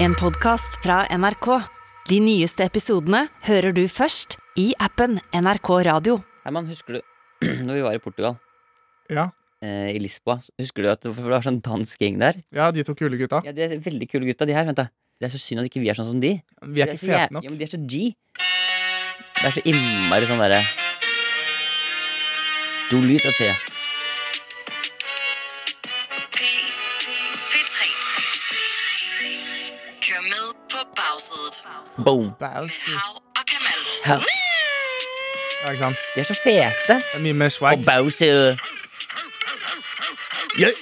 En podcast fra NRK. De nyeste episodene hører du først i appen NRK Radio. Herman, husker du når vi var i Portugal, Ja, eh, i Lisboa så Husker du at for det var sånn dansk gjeng der? ja de to kule gutta. Ja, De er veldig kule gutta, de her. Vent, da. Det er så synd at ikke vi er sånn som de. Vi er De ikke så jæv- fete nok. Ja, men de er så G. Det er så innmari sånn derre Du lytter til P3. Kør med på bagsædet. Boom. Bowser. Hav og Kamal. Ja, Ja, ikke sant? de er så fete. Det er mye mer På swag. Bowser.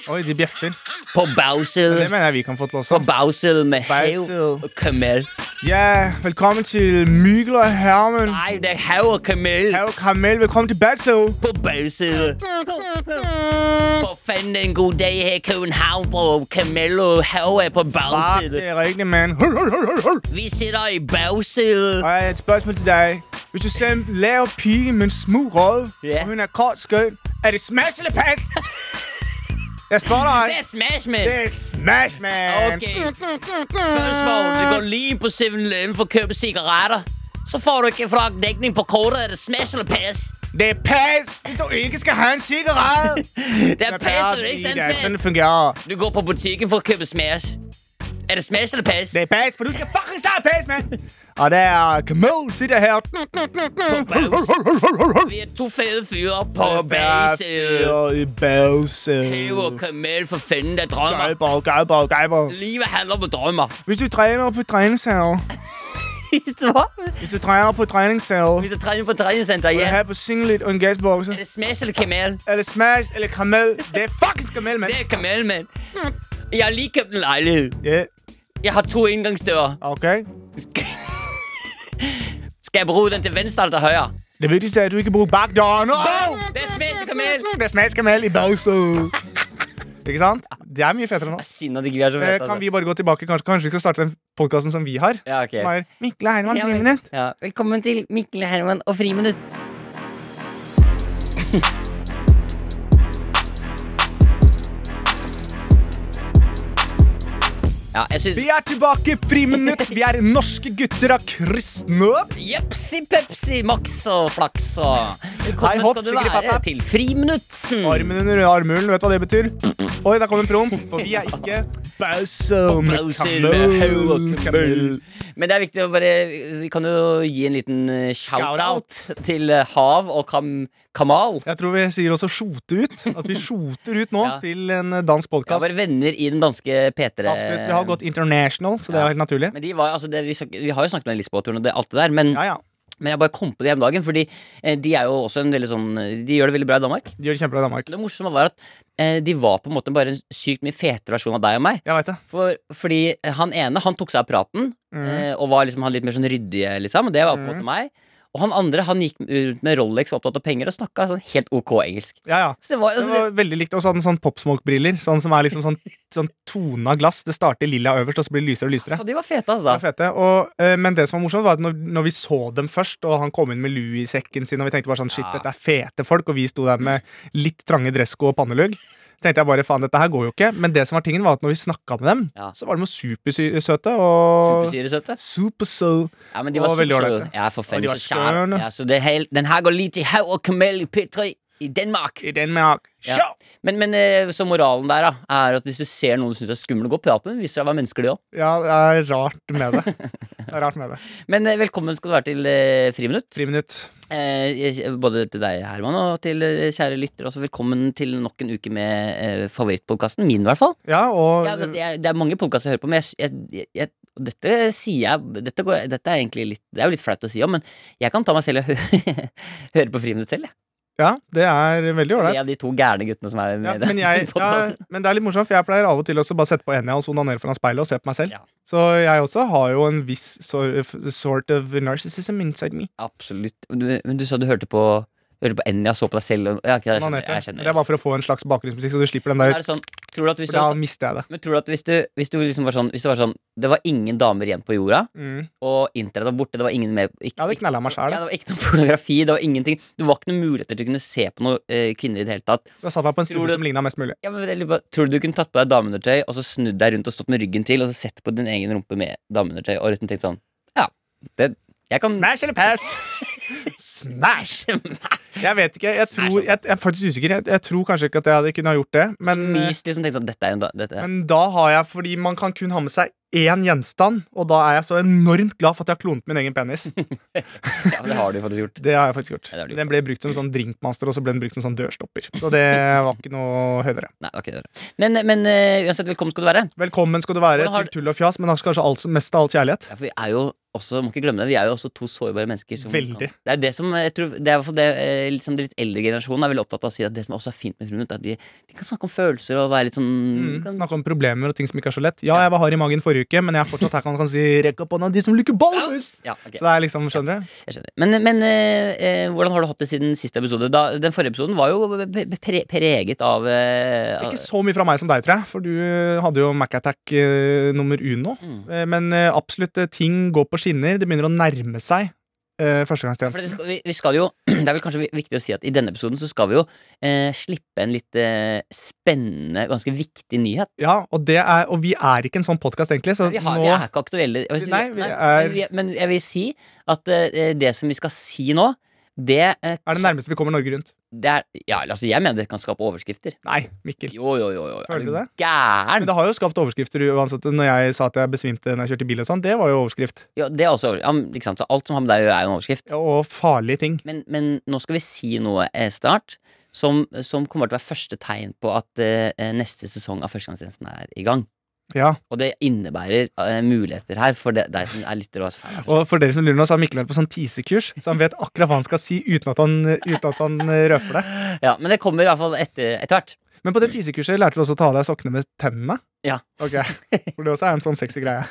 Oi, de bjeffer. På Det Bowser. mener jeg vi kan få til På også. Bowser med hav Bowser. og kamel. Ja, velkommen til Mygler og Herman. Nei, det er hav og kamel. Herre Kamel, velkommen til Bowser. På Bowser. For fanden en god dag her i København, bro. Kamel og hav er på Ah, Bowser. det er rigtigt, mand. Hul, hul, hul, hul, hul. Vi sitter i bagsædet. Og jeg har et spørgsmål til dig. Hvis du ser en lav pige med en smug røde, Ja. og hun er kort skøn, er det smash eller pass? jeg spørger Det dig. er smash, man. Det er smash, man. Okay. Spørgsmål. Du går lige ind på 7-Eleven for at købe cigaretter. Så får du ikke fra dækning på kortet. Er det smash eller pass? Det er pass, hvis du ikke skal have en cigaret. Det er pass, og det er ikke sandt Sådan smash. det fungerer. Du går på butikken for at købe smash. Er det smash eller pass? Det er pass, for du skal fucking snart pass, mand. Og der er Kamel sitter her. Vi er to fede fyre på bagsædet. Bagsæde. I bagsæde. Hæve og kamel for fanden, der drømmer. Geiborg, Geiborg, Geiborg. Livet handler om drømmer. Hvis du træner på træningssal, hvis du træner på træningssal, Vi skal træne på træningscenter, vil du ja. have på singlet og en gasbokse? Er det smash eller kamel? Eller smash, eller karamel. Det er fucking karamel, mand. Det er kamel, mand. Jeg har lige købt en lejlighed. Ja, Jeg har to indgangsdøre. okay. Skal jeg bruge den til venstre eller til højre? Det vigtigste er, at du ikke bruger bakdøren. Boom! Oh! Det er smash og kamel. Det er smash karamel i bagsæde. Ikke sant? Det er mye fetere nå. Synd at de ikke er så Eh, fett, Kan vi bare gå tilbake? Kanskje, kanskje vi skal starte den podkasten som vi har? Ja, ok. Som er Mikkel Herman, Ja, tre vel. minutt. Ja. Velkommen til Mikkel Herman og Friminutt. Ja, jeg synes... Vi er tilbake, friminutt. Vi er norske gutter av kristne. Jepsi, pepsi, maks og flaks og Hei, Velkommen hopp, skal du skikkelig, være pappa. til Friminuttsen. Armen under armhulen, vet du hva det betyr? Oi, der kom en promp. For vi er ikke bausa med Applauser med haug og kamel. kamel. Men det er viktig å bare Vi kan jo gi en liten eh, shout-out til eh, Hav og kam Kamal. Jeg tror vi sier også sjote ut. At vi sjoter ut nå Ja. til en dansk Vi har podkast. vært venner i den danske P3. Absolutt. Vi har gått international, så det Ja. er helt naturlig. Men de var, altså, det, vi, snak- vi har jo snakket om den Lisboa-turen og det, alt det der, men, Ja, ja. men jeg bare kom på det hjemme dagen, fordi eh, de er jo også en veldig sånn De gjør det veldig bra i Danmark. De gjør det kjempebra i Danmark. Det morsomme var at eh, de var på en måte bare en sykt mye fetere versjon av deg og meg. Jeg veit det. For, fordi han ene han tok seg av praten Mm. eh, og var liksom, han litt mer sånn ryddig. Liksom, og det var på en måte meg Og han andre han gikk rundt med Rolex og opptatt av penger og snakka sånn helt ok engelsk. Ja, ja. Så det var, Det altså, var veldig likt. Og så hadde han sånn popsmoke-briller. Sånn som er liksom sånn, sånn tona glass. Det starter lilla øverst, og så blir det lysere og lysere. det, de var fete, Det var altså. fete. Og, eh, men det som var morsomt, var at når, når vi så dem først, og han kom inn med lue i sekken sin, og vi tenkte bare sånn shit, Ja. dette er fete folk, og vi sto der med litt trange dressko og pannelugg, tenkte jeg bare faen, dette her går jo ikke. Men det som var tingen, var at når vi snakka med dem, Ja. så var de jo supersøte og Supersyresøtte. Supersø... Ja, men de Og var veldig supersøte. ålreite. Ja, for Og faen, de så var kjær. skjønne. Ja, så det hel, den her går lige til hav og kamel i P3 i Danmark. I Danmark. Ja. Sjå! Men, men eh, så moralen der da er at hvis du ser noen du syns er skummel, gå og prat med dem. Viser deg å være mennesker, de òg. Ja, det er rart med det. Det er rart med det. Men eh, velkommen skal du være til eh, Friminutt. Friminutt. Eh, jeg- både til deg, Herman, og til eh, kjære lyttere. Også velkommen til nok en uke med eh, favorittpodkasten min, i hvert fall. Ja, og Ja, det, det er, det er mange podkaster jeg hører på, men jeg, jeg, jeg, og dette sier jeg dette, går, dette er egentlig litt Det er jo litt flaut å si òg, men jeg kan ta meg selv og hø høre på Friminutt selv, jeg. ja, det er veldig ålreit. Jeg er de to gærne guttene som er med Ja, i men, den jeg, ja, podcasten. men det er litt morsomt, for jeg pleier av og til også bare sette på enda og onanere foran speilet og se på meg selv. Ja. Så jeg også har jo en viss sor- sort of narcissism inside me. Absolutt. Men du, men du sa du hørte på Hørte på Enja, så på deg selv og ja, ok, jeg skjønner. Manette. Jeg skjønner. Det er bare for å få en slags bakgrunnsmusikk, så du slipper den Men der. er det sånn, tror du at hvis For du, da hadde- mister jeg det. men tror du at hvis du, hvis du liksom var sånn Hvis det var sånn Det var ingen damer igjen på jorda, Mm. og internett var borte, det var ingen med ikke, Jeg hadde knella meg Ja, sjæl. det var ikke noe pornografi, det var ingenting. Det var ikke noen muligheter til å kunne se på noen eh, kvinner i det hele tatt. Da satt meg på en Tror du- stol som ligna mest mulig. Ja, men jeg lurer på, Tror du du kunne tatt på deg dameundertøy og så snudd deg rundt og stått med ryggen til og så sett på din egen rumpe med dameundertøy og retten tenkt sånn Ja, det jeg kan Smash eller pass? Smash! Jeg vet ikke. Jeg, Smash, altså. tror, jeg, jeg er faktisk usikker. Jeg, jeg tror kanskje ikke at jeg hadde kunnet ha gjort det. Men, Mys liksom tenkt sånn Dette er jo en da, dette. men da har jeg Fordi man kan kun ha med seg én gjenstand, og da er jeg så enormt glad for at jeg har klonet min egen penis. ja, Det har du faktisk gjort. Det har jeg faktisk gjort. Ja, det har du gjort. Den ble brukt som sånn drinkmaster, og så ble den brukt som sånn dørstopper. Så det var ikke noe høyere. Nei, ok, det er det. Men, men eh, uansett, velkommen skal du være. Velkommen skal du være Hvordan har til tull og fjas, men kanskje alt, som- mest av alt kjærlighet. Ja, for vi er jo også, må ikke glemme det, vi er jo også to sårbare mennesker. Som Veldig. Kan. Det er det som, eh, jeg tror, det er i hvert fall det eh, liksom, den litt eldre generasjonen er veldig opptatt av å si at det som også er fint med fruen, er at de, de kan snakke om følelser og være litt sånn Mm, kan, snakke om problemer og ting som ikke er så lett. Ja, jeg var hard i magen forrige uke, men jeg er fortsatt her kan, kan si 'rekk opp hånda, de som liker ballhus'! ja, ok. Så det er liksom, skjønner du? Jeg skjønner. Men, men eh, eh, hvordan har du hatt det siden siste episode? Da, den forrige episoden var jo pre pre preget av eh, Ikke så mye fra meg som deg, tror jeg, for du eh, hadde jo Mac Attack eh, nummer uno. Mm. Eh, men eh, absolutt, eh, ting går på skinner. Det begynner å nærme seg eh, For det førstegangstjenesten. skal, vi, vi skal jo, det er vel kanskje vi- viktig å si at i denne episoden så skal vi jo eh, slippe en litt eh, spennende, ganske viktig nyhet. Ja, og, det er, og vi er ikke en sånn podkast, egentlig, så Vi, har, nå vi er ikke aktuelle. Jeg vil si- Nei, vi men er- vi- Men jeg vil si at eh, det som vi skal si nå, det, eh, er det nærmeste vi kommer Norge rundt. det er Ja, altså, jeg mener det kan skape overskrifter. Nei, Mikkel. Jo, jo, jo. jo. Føler du det? Gæren! Men det har jo skapt overskrifter uansett. Når jeg sa at jeg besvimte når jeg kjørte bil og sånn, det var jo overskrift. Ja, det er også, ja, men ikke sant? Så alt som har med deg å gjøre, er jo en overskrift. Ja, Og farlige ting. Men, men nå skal vi si noe eh, snart som, som kommer til å være første tegn på at eh, neste sesong av Førstegangstjenesten er i gang. Ja. Og det innebærer eh, muligheter her for de- deg som er lytter og er fan. av Og for dere som lurer nå, så har Mikkel vært på sånn teasekurs, så han vet akkurat hva han skal si uten at han, uten at han eh, røper det. Førstegangstjenesten. Ja, men det kommer i hvert fall etter, etter hvert. Men på det teasekurset lærte du også å ta av deg sokkene med tennene? Ja. Ok, For det også er en sånn sexy greie.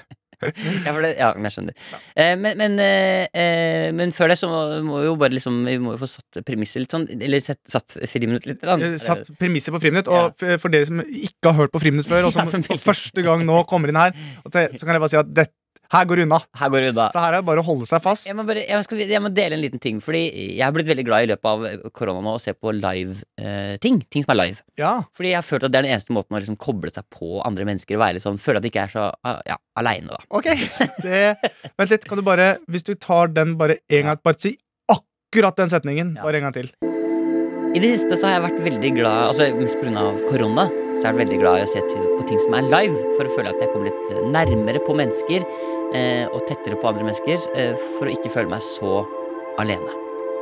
Ja, for det, ja, men jeg skjønner. Eh, men, men, eh, eh, men før det så må, må vi jo bare liksom Vi må jo få satt premisset litt sånn, eller sett, satt friminutt litt. grann. Eh, Satt premisset på Friminutt. Og f- for dere som ikke har hørt på Friminutt før, og som Ja, som for veldig- første gang nå kommer inn her, og te- så kan jeg bare si at det, her går det unna. Eh, Her går det unna. Så her er det bare å holde seg fast. Jeg må, bare, jeg, skal, jeg må dele en liten ting, Fordi jeg har blitt veldig glad i løpet av eh, korona nå å se på live eh, ting. Ting som er live. Ja, Fordi jeg har følt at det er den eneste måten å liksom koble seg på andre mennesker. Og være liksom, føle at jeg ikke er så ah, ja, aleine, da. ok. Det, vent litt, kan du bare Hvis du tar den bare en gang, bare si akkurat den setningen. Ja. Bare en gang til. I det siste så har jeg vært veldig glad Altså mest pga. korona Så har jeg vært veldig glad i å se til, på ting som er live, for å føle at jeg kommer litt eh, nærmere på mennesker. Eh, og tettere på andre mennesker, eh, for å ikke føle meg så alene.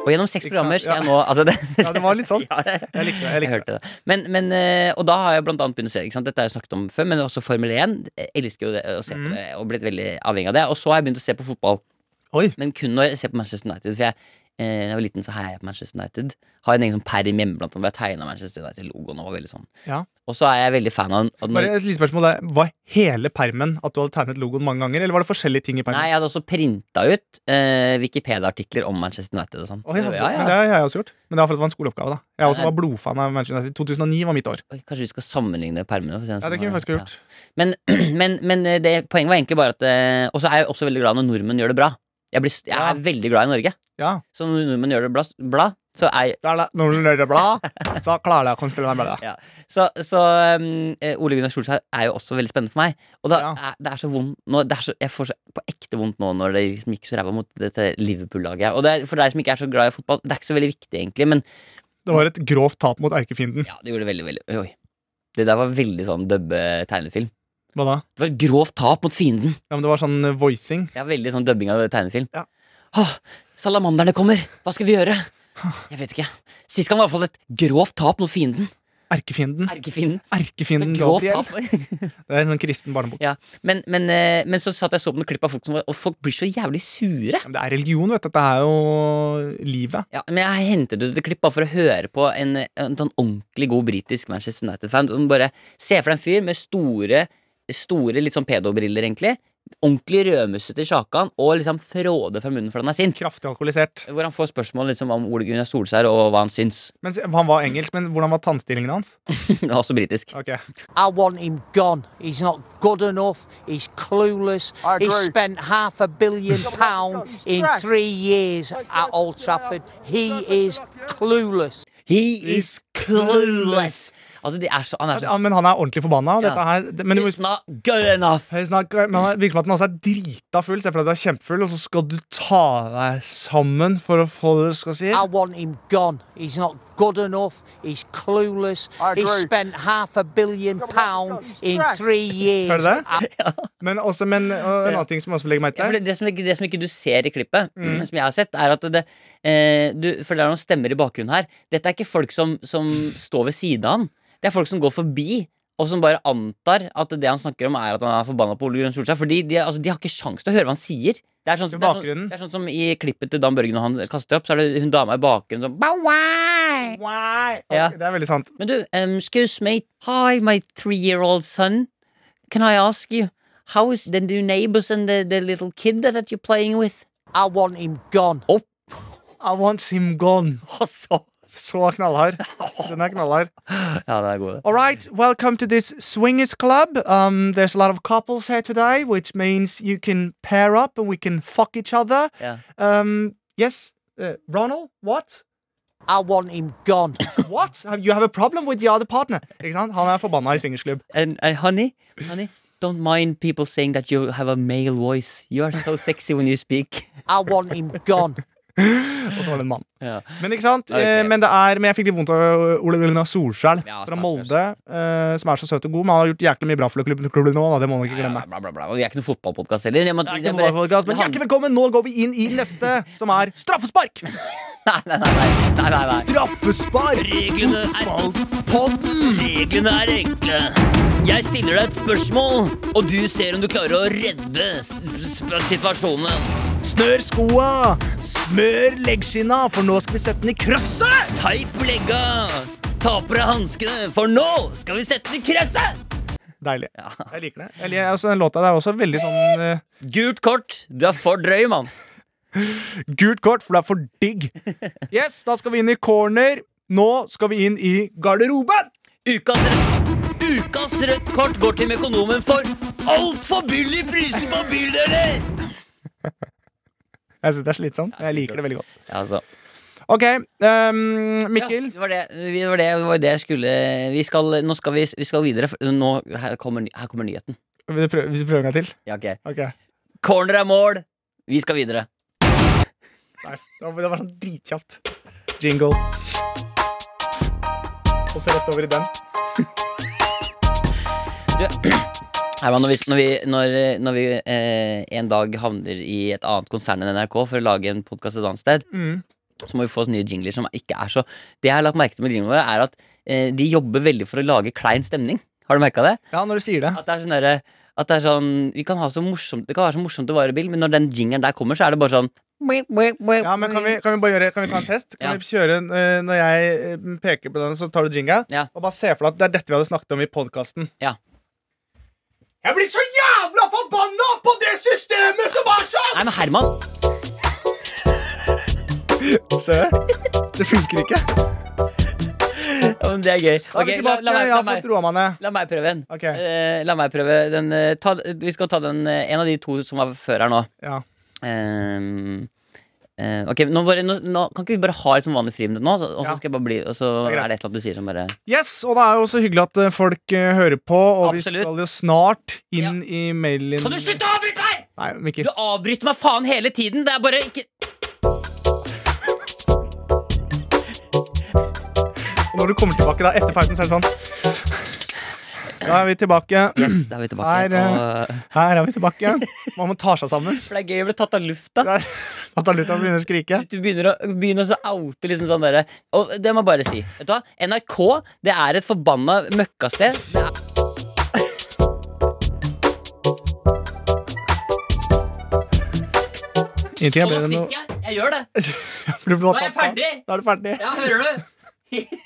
Og gjennom seks Ikke sant? programmer skal jeg Ja. nå altså det, Ja, det var litt sånn. ja, det, Jeg Jeg likte det. Jeg likte det. hørte det. Men, men, eh, og da har jeg blant annet begynt å se ikke sant? Dette har jeg snakket om før, men også Formel 1. Jeg elsker jo det, å se Mm. på det og blitt veldig avhengig av det. Og så har jeg begynt å se på fotball. Oi. Men kun når jeg ser på Manchester United. For jeg, eh, da jeg var liten, så heia jeg på Manchester United. Har en egen sånn perm hjemme blant annet hvor jeg tegna Manchester United-logoen. Og var veldig sånn Ja. Og så er jeg veldig fan av av den. Bare et lite spørsmål der. Var hele permen at du hadde tegnet logoen mange ganger, eller var det forskjellige ting i Nei, permen? jeg hadde også printa ut eh, Wikipedia-artikler om Manchester United og sånn. Oi, jeg hadde, Ja, ja. Men det har jeg også gjort. Men det har faktisk vært en skoleoppgave, da. Jeg Nei. også var blodfan av Manchester United. 2009 var mitt år. Oi, Kanskje vi skal sammenligne permene? for å se hvem Ja, som det kunne vi har- faktisk ha gjort. Men, men, men eh, det, poenget var egentlig bare at eh, Og så er jeg også veldig glad når nordmenn gjør det bra. Jeg, blir, s- jeg Ja. er veldig glad i Norge. Ja. Så når nordmenn gjør det bra, bra så er jeg Der, der. Når du nører blad, så klarer jeg å konstruere meg med det. Så, så um, eh, Ole Gunnar Solskjær er jo også veldig spennende for meg. Og da, Ja. er, det er så vondt nå, det er så, Jeg får så, på ekte vondt nå når det liksom gikk så ræva mot dette Liverpool-laget. Og det er, for deg som ikke er så glad i fotball, det er ikke så veldig viktig, egentlig. Men Det var et grovt tap mot erkefienden. ja, det gjorde det veldig, veldig Oi. Det der var veldig sånn dubbe tegnefilm. Hva da? Det var et grovt tap mot fienden. Ja, men det var sånn eh, voicing. Ja, veldig sånn dubbing av tegnefilm. Ja. Åh, salamanderne kommer! Hva skal vi gjøre? Jeg vet ikke. Sist gang var det i hvert fall et grovt tap mot fienden. Erkefienden. Erkefienden. Det er Erkefienden grovt Gabriel. tap. Det er en sånn kristen barnebok. ja. men, men, eh, men så satt jeg og så på noen klipp av folk som var Og folk blir så jævlig sure. Ja, men det er religion, vet du. Dette er jo livet. Ja, men jeg hentet ut et klipp bare for å høre på en, en sånn ordentlig god britisk Manchester United-fan som bare ser for deg en fyr med store, store litt sånn pedobriller, egentlig. ordentlig rødmussete i sjakan og liksom fråde fra munnen fordi han er sint. Kraftig alkoholisert. Hvor han får spørsmål liksom, om Ole Gunnar Solskjær og hva han syns. Men, han var engelsk, men hvordan var tannstillingen hans? Også britisk. Ok, I want him gone. He's not good enough. He's clueless. He's spent half a billion pound in three years at Old Trafford. He is clueless. He is clueless! Altså, de er så, han er Ja, så Men han er ordentlig forbanna. og Ja. Dette her, det- men du må It's not good enough! Høy snakk, eh, men han virker som at han også er drita full. Se for deg at du er kjempefull, og så skal du ta deg sammen for å få det du skal si. I want him gone. He's not good enough. He's clueless. He's spent half a billion pound in three Hører years du det? Men, også, men og en annen ting som jeg også legger merke Ja, for til det, det, som, ikke- det som ikke du ser i klippet, Mm. som jeg har sett, er at det eh, du, For det er noen stemmer i bakgrunnen her. Dette er ikke folk som, som står ved siden av han. Det er folk som går forbi, og som bare antar at det han snakker om, er at han er forbanna på Ole Gunnar Solskjær. Fordi de, altså, de har ikke sjans til å høre hva han sier. Det er, sånn, det, er I sånn, bakgrunnen. det er sånn som i klippet til Dan Børge når han kaster opp, så er det hun dama i bakgrunnen som bow, wow. Ja. Det er veldig sant. Men du, um, excuse me, hi my three-year-old son, can I ask you, how is the new neighbors and the, the little kid that you're playing with? I want him gone. I want him gone. Altså. Så knallhard. Den er knallhard. Ja, det er god. All right, welcome to this swingers club. Um, there's a lot of couples here today, which means you can pair up and we can fuck each other. Ja. Um, yes, uh, Ronald, what? I want him gone. What? Have- You have a problem with the other partner. Ikke sant? Han er forbanna i swingersklubb. And, and honey, honey, don't mind people saying that you have a male voice. You are so sexy when you speak. I want him gone. Og så var det en mann. Ja. Men ikke sant? Ok. Eh, Men, det er, men jeg fikk litt vondt av Ole Gunnar Solskjær Ja, fra stakkars. Molde, eh, som er så søt og god. Men han har gjort jæklig mye bra for klubben klubben nå, da. det må man ikke Ja, glemme. bla, bla, bla. Og Vi er ikke noen fotballpodkast heller. Jeg må- Det er det ikke er bare- fotballpodcast, men det handler- Hjertelig velkommen! Nå går vi inn i neste, som er straffespark! Nei, nei, nei, nei, nei, nei, nei. Straffespark! Reglene er Reglene er enkle. Jeg stiller deg et spørsmål, og du ser om du klarer å redde s- s- situasjonen. Snør skoa! Smør leggskinna, for nå skal vi sette den i krøsset! Teip legga! Ta på deg hanskene, for nå skal vi sette den i kresset! Deilig. Jeg liker det. Jeg liker, altså, den låta der er også veldig sånn eh, Gult kort. Du er for drøy, mann. Gult kort, for det er for digg. Yes, da skal vi inn i corner. Nå skal vi inn i garderoben! Ukas rødt, ukas rødt kort går til Mekonomen for altfor billig priser på bildeler! Jeg syns det er slitsomt. Jeg liker det veldig godt. Ja, altså. Ok, ehm, Mikkel. Ja, det var det, det, var det, det, var det jeg skulle vi skal, Nå skal vi, vi skal videre. for Nå, her, kommer, ny- her kommer nyheten. Vil du prøve, vil du prøve en gang til? Ja, ok. Ok. Corner er mål. Vi skal videre. Nei, det var, det var sånn dritkjapt. Jingle. Og så rett over i den. Herman, når vi, når vi, når, når vi eh, en dag havner i et annet konsern enn NRK for å lage en podkast et annet sted, Mm. så må vi få oss nye jingler som ikke er så Det jeg har lagt merke til med jinglene våre, er at eh, de jobber veldig for å lage klein stemning. Har du merka det? Ja, når du sier det. At det er sånn derre at det er sånn, vi kan ha så morsomt, Det kan være så morsomt å være i bil, men når den jingeren der kommer, så er det bare sånn Ja, men kan vi, kan vi bare gjøre Kan vi ta en test? Kan Ja. vi kjøre en, eh, Når jeg eh, peker på den, så tar du jinga? Ja. Og bare se for deg at det er dette vi hadde snakket om i podkasten. Ja. Jeg blir så jævla forbanna på det systemet som er sånn! Nei, men Herman! Se, det funker ikke. Ja, men det er gøy. Da er Ok, vi la, tilbake. la, meg, jeg la, har meg, fått roa meg ned. la meg prøve en. Ok. Eh, la meg prøve den eh, ta, Vi skal ta den, eh, en av de to som var før her nå. Ja. Ehm, eh, ok, nå, bare, nå, nå Kan ikke vi bare ha et som vanlig friminutt nå? Så, og så Ja. skal jeg bare bli Og så Det er greit. er det et eller annet du sier som bare Yes, og det er jo så hyggelig at eh, folk eh, hører på, og vi Absolutt. skal jo snart inn i mailen Kan du slutte å avbryte meg?! Nei, Du Mikkel. avbryter meg faen hele tiden! Det er bare ikke Og når du kommer tilbake da etter pausen, så er det sånn Da er vi tilbake. Yes, da er vi tilbake. Der, eh, og, Her er vi tilbake. Man må ta seg sammen. for det er gøy å bli tatt av lufta. Der. Ataluta begynner å skrike. Hvis du begynner å, begynner å oute liksom sånn derre Og det må jeg bare si. Vet du hva? NRK det er et forbanna møkkasted. Det er Inntil jeg Og nå ble det noe stikker jeg. Jeg gjør det. Du ble Nå er jeg tatt av. ferdig. Da er du ferdig. Ja, hører du?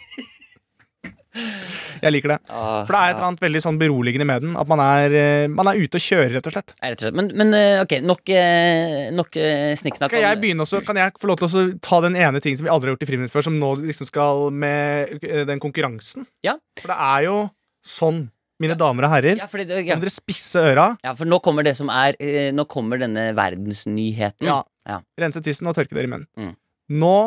Jeg liker det. Ah, For det er et eller annet veldig sånn beroligende med den. At man er, eh, man er ute og kjører, rett og slett. Nei, Rett og slett. Men, men eh, ok, nok, eh, nok eh, snikksnakk. Skal jeg om- begynne også, Kan jeg få lov til å ta den ene tingen som vi aldri har gjort i Friminutt før, som nå liksom skal med eh, den konkurransen? Ja. For det er jo sånn, mine damer og herrer. Ja, fordi, det- Må ja. dere spisse øra, ja, for nå kommer det som er eh, Nå kommer denne verdensnyheten. Ja. Mm. ja. rense tissen og tørke dere i munnen. Mm. Nå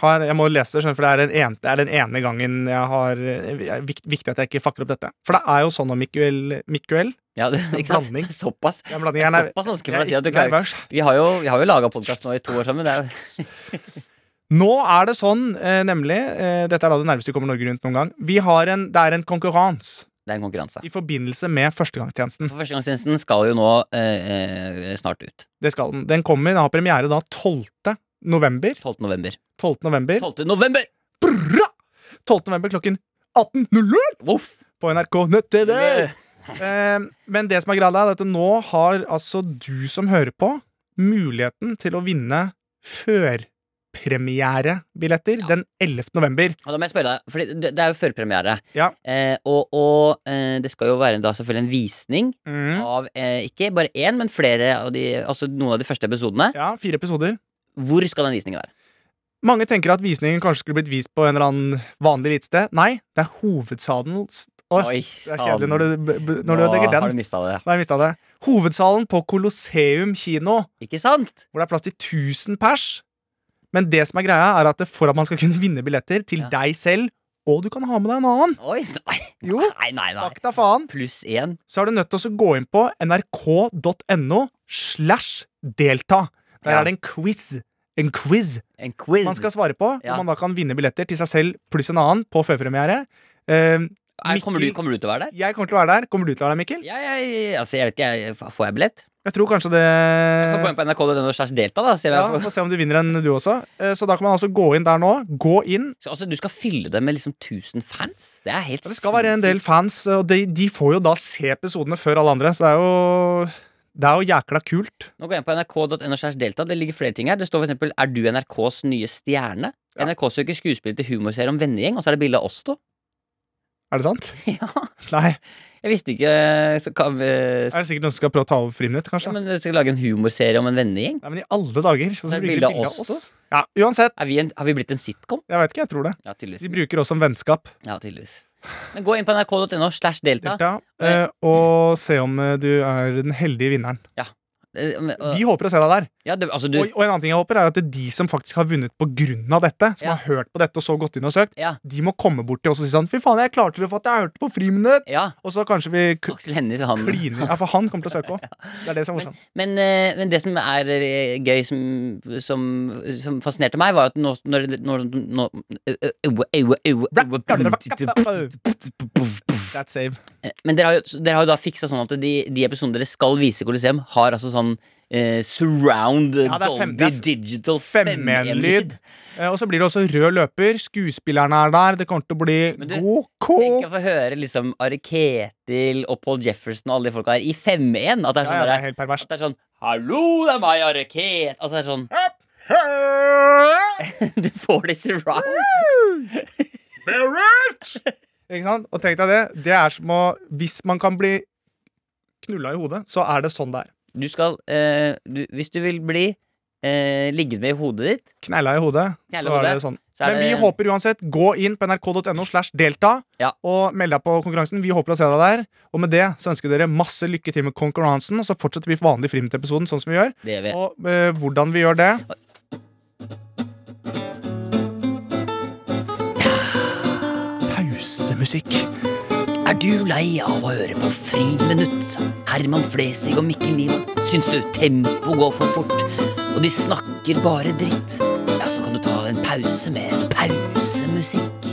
har jeg, jeg må lese det, skjønner du, for det er, den ene, det er den ene gangen jeg har det er vik- Viktig at jeg ikke fucker opp dette. For det er jo sånn om Mikuel, Mikuel Ja, det, er ikke sant? blanding. Såpass. Jeg blander Det er gjerne jeg Såpass vanskelig er for deg å si at du ikke klarer nervøs. Vi har jo, vi har jo laga podkast nå i to år sammen. Det er jo Nå er det sånn, eh, nemlig eh, Dette er da det nærmeste vi kommer Norge rundt noen gang. Vi har en, det er en konkurranse det er en konkurranse. i forbindelse med førstegangstjenesten. For Førstegangstjenesten skal jo nå eh, eh, snart ut. Det skal den. Den kommer, den har premiere da 12. november. 12. november. 12. november, 12. november! 12. november klokken 18.00 Voff! på NRK Nett-TV! Eh, men det som er greia, er at nå har altså du som hører på, muligheten til å vinne førpremierebilletter Ja. den 11. november. Og da må jeg spørre deg, for det, det er jo førpremiere. Ja. Eh, og og eh, det skal jo være da selvfølgelig en visning Mm. av eh, ikke bare én, men flere av de, altså noen av de første episodene. Ja, fire episoder. Hvor skal den visningen være? Mange tenker at visningen kanskje skulle blitt vist på en eller annen vanlig elitested. Nei, det er hovedsalen Åh, Oi, Det er kjedelig når du, b- b- når du ødelegger Nå har den. du mista det. Da har jeg mistet det. Hovedsalen på Colosseum kino, Ikke sant? hvor det er plass til 1000 pers. Men det som er greia, er at det- for at man skal kunne vinne billetter til Ja. deg selv, og du kan ha med deg en annen, Oi, nei, Jo. nei, nei. nei. Fakta faen. Pluss én. Så er du nødt til å gå inn på nrk.no slash delta. Der Ja. er det en quiz. En quiz En quiz. man skal svare på. Ja. Hvor man da kan vinne billetter til seg selv pluss en annen på førpremiere. Eh, Er, kommer, du, Mikkel- kommer du til å være der? Jeg kommer til å være der. Kommer du til å være der, Mikkel? Ja, jeg, altså, jeg vet ikke, jeg, Får jeg billett? Jeg tror kanskje det Få gå inn på altså. nrk.no slags delta, da. Ser Eh. ja, ja. jeg får. Få se om du vinner en, du også. Eh, Så da kan man altså gå inn der nå. Gå inn. Så, altså, du skal fylle det med liksom 1000 fans? Det er helt Ja, Det skal være en del fans, og de, de får jo da se episodene før alle andre, så det er jo Det er jo jækla kult. Nå går jeg inn på nrk.no slags delta. Det ligger flere ting her. Det står for eksempel 'Er du NRKs nye stjerne?' Ja. NRK søker skuespiller til humorserie om vennegjeng, og så er det bilde av oss to. Er det sant? ja. Nei. Jeg visste ikke eh, så, kan vi, Er det sikkert noen som skal prøve å ta over friminutt, ja, kanskje? men Skal vi lage en humorserie om en vennegjeng? Nei, men i alle dager. så Det er bruker de bilde av bilde oss, da. Ja, uansett. Er vi en, har vi blitt en sitcom? Jeg vet ikke, jeg tror det. Ja, tydeligvis. De bruker oss som vennskap. Ja, tydeligvis. Men gå inn på nrk.no slash delta. Delta, eh, og se om eh, du er den heldige vinneren. Eh, men, og- Vi håper å se deg der. Ja, det, altså, du, Og, og en annen ting jeg håper, er at det er de som faktisk har vunnet på grunn av dette, som Ja. har hørt på dette og så gått inn og søkt, Ja. de må komme bort til oss og si sånn Fy faen, jeg klarte det for at jeg hørte på Friminutt! ja, Og så kanskje vi k Aksel Hennie, han kliner. Ja, for han kommer til å søke òg. Det er det som er morsomt. Men, eh, men det som er eh, gøy, som, som, som fascinerte meg, var at nå når, når, nå- That's save. Men dere har, jo, dere har jo da fiksa sånn at de, de episodene dere skal vise i Coliseum, har altså sånn eh, surround Ja, det er fem- Dolby det er f- digital Femmenlyd. femmenlyd. Eh, Og så blir det også rød løper. Skuespillerne er der. Det kommer til å bli Men du, god Tenk kål. å få høre liksom Are Ketil og Paul Jefferson og alle de folka der i 5-1. At det er sånn Ja, ja, det der- er helt perverst. At det er sånn Hallo, det er meg, Are Ket Altså, det er sånn Du får det surround. Ikke sant? Og tenk deg det. Det er som å Hvis man kan bli knulla i hodet, så er det sånn det er. Du skal eh, du, Hvis du vil bli eh, ligget med i hodet ditt, Kneila i hodet, Kneila i så er hodet, det sånn. så er Men vi det håper uansett, gå inn på nrk.no slash delta Ja. og meld deg på konkurransen. Vi håper å se deg der. Og med det så ønsker vi dere masse lykke til med konkurransen, og så fortsetter vi vanlig Friminutt-episoden sånn som vi gjør. Det gjør vi. Og eh, hvordan vi gjør det Pausemusikk. Er du lei av å høre på Friminutt? Herman Flesvig og Mikkel Niva? Syns du tempo går for fort? Og de snakker bare dritt? Ja, så kan du ta en pause med pausemusikk.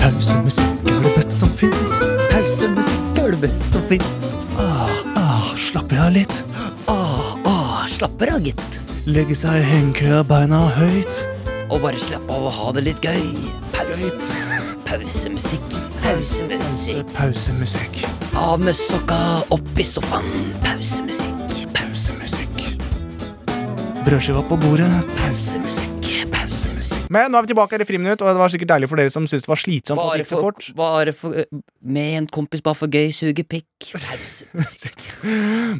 Pausemusikk er det beste som finnes Pausemusikk er det beste som finnes Ah, ah, slapper jeg av litt. Ah, ah, slapper av, gitt. Legge seg i hengekøya, beina høyt. Og bare slapp av og ha det litt gøy. Pause. Pausemusikk. Pausemusikk. Pausemusikk. Av med sokka, opp i sofaen. Pausemusikk. Pausemusikk. Brødskiva på bordet. Pausemusikk. Pausemusikk. Men nå er vi tilbake her i friminutt, og det var sikkert deilig for dere som syntes det var slitsomt. at Bare det gikk så for, fort. bare for eh, Med en kompis, bare for gøy, suge pikk. Pausemusikk.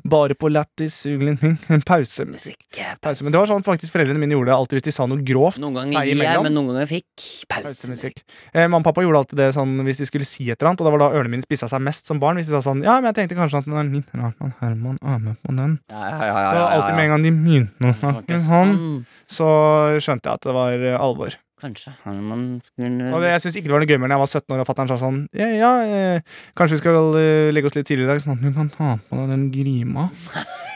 Bare på lættis, uglen min. Pausemusikk. Pause. Men det var sånn faktisk foreldrene mine gjorde det alltid hvis de sa noe grovt. Noen seg ganger gir jeg, imellom. men noen ganger fikk. Pausemusikk. Pausemusikk. Eh, mamma og pappa gjorde alltid det sånn hvis de skulle si et eller annet, og det var da ørene mine spissa seg mest som barn. Hvis de sa sånn Ja, men jeg tenkte kanskje at den er min Herman, Herman, er med på den. Ja, ja, ja, ja, Så ja, alltid ja. med en gang de begynte å snakke med han, Sånn. så skjønte jeg at det var eh, alvor. Kanskje Herman skulle Og det, jeg syns ikke det var noe gøy mer da jeg var 17 år og fatter'n sa sånn Ja, ja, eh, kanskje vi skal eh, legge oss litt tidlig i dag, sånn at du kan ta på deg den grima.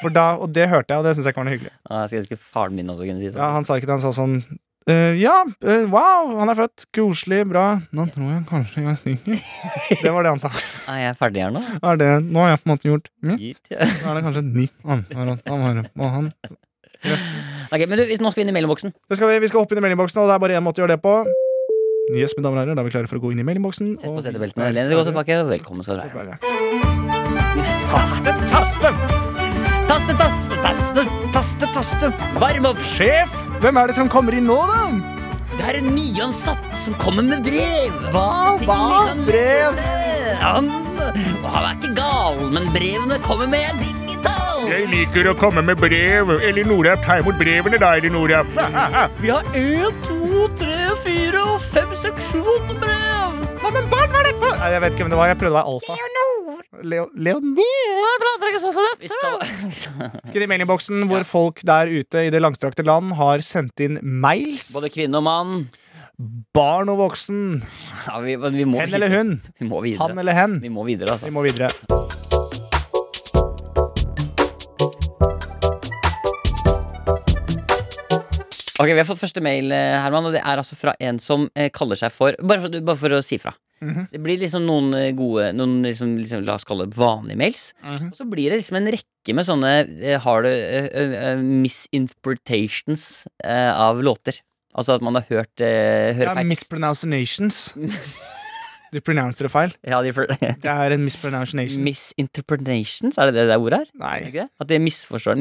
For da, Og det hørte jeg, og det syns jeg ikke var noe hyggelig. Ah, Jeg skulle ønske faren min også kunne si Ja, sånn. han sa ikke det, han sa sånn «Eh, ja, eh, wow, han er født. Koselig, bra. Nå tror jeg kanskje jeg stikker. Det var det han sa. Er jeg ferdig her nå? Er det, nå har jeg på en måte gjort Mm. mitt. Gitt, ja. Nå er det kanskje et nytt ansvar å ta vare på han. Ok, men du, hvis- nå skal vi inn i mellomboksen. Det skal vi, vi skal hoppe inn i meldingboksen, og det er bare én måte å gjøre det på. Yes, mine damer og herrer, da er vi klare for å gå inn i meldingboksen. Sett på og vi setebeltene. er Len deg godt klare tilbake. og Velkommen skal du for å være. være. Taste, taste, Taste, taste, taste. taste, taste. Varm opp. Sjef, hvem er det som kommer inn nå, da? Det er en nyansatt som kommer med brev. Hva? Ting Hva? vi kan Brev? lese. Han, og han er ikke gal, men brevene kommer med digital. liker å komme med brev. Elinora, ta imot brevene da, Elinora. Vi har én, to, tre, fire og fem, seks, sju, åtte brev. Hva med barn var dette? Nei, jeg vet ikke hvem det var. Jeg prøvde å være alfa. Leo, Leonor! Vi skal... Skriv i meldingboksen hvor folk der ute i det langstrakte land har sendt inn mails. Både kvinne og mann. Barn og voksen. Ja, vi, vi må Hen videre. eller hun. Vi må videre. Han eller hen. Vi må videre, altså. Vi må videre. Ok, Vi har fått første mail, eh, Herman, og det er altså fra en som eh, kaller seg for Bare for, bare for å si fra. Det blir liksom noen eh, gode, noen liksom, liksom, la oss kalle det vanlige mails. Og så blir det liksom en rekke med sånne eh, har du, eh, eh, misinterpretations eh, av låter. Altså at man har hørt eh, Det hører er feil. mispronunciations. Du pronouncer det feil. Ja, de får- Det er en mispronunciation. misinterpretations, er det det det ordet er? Er det Nei. ikke det? At det er misforstår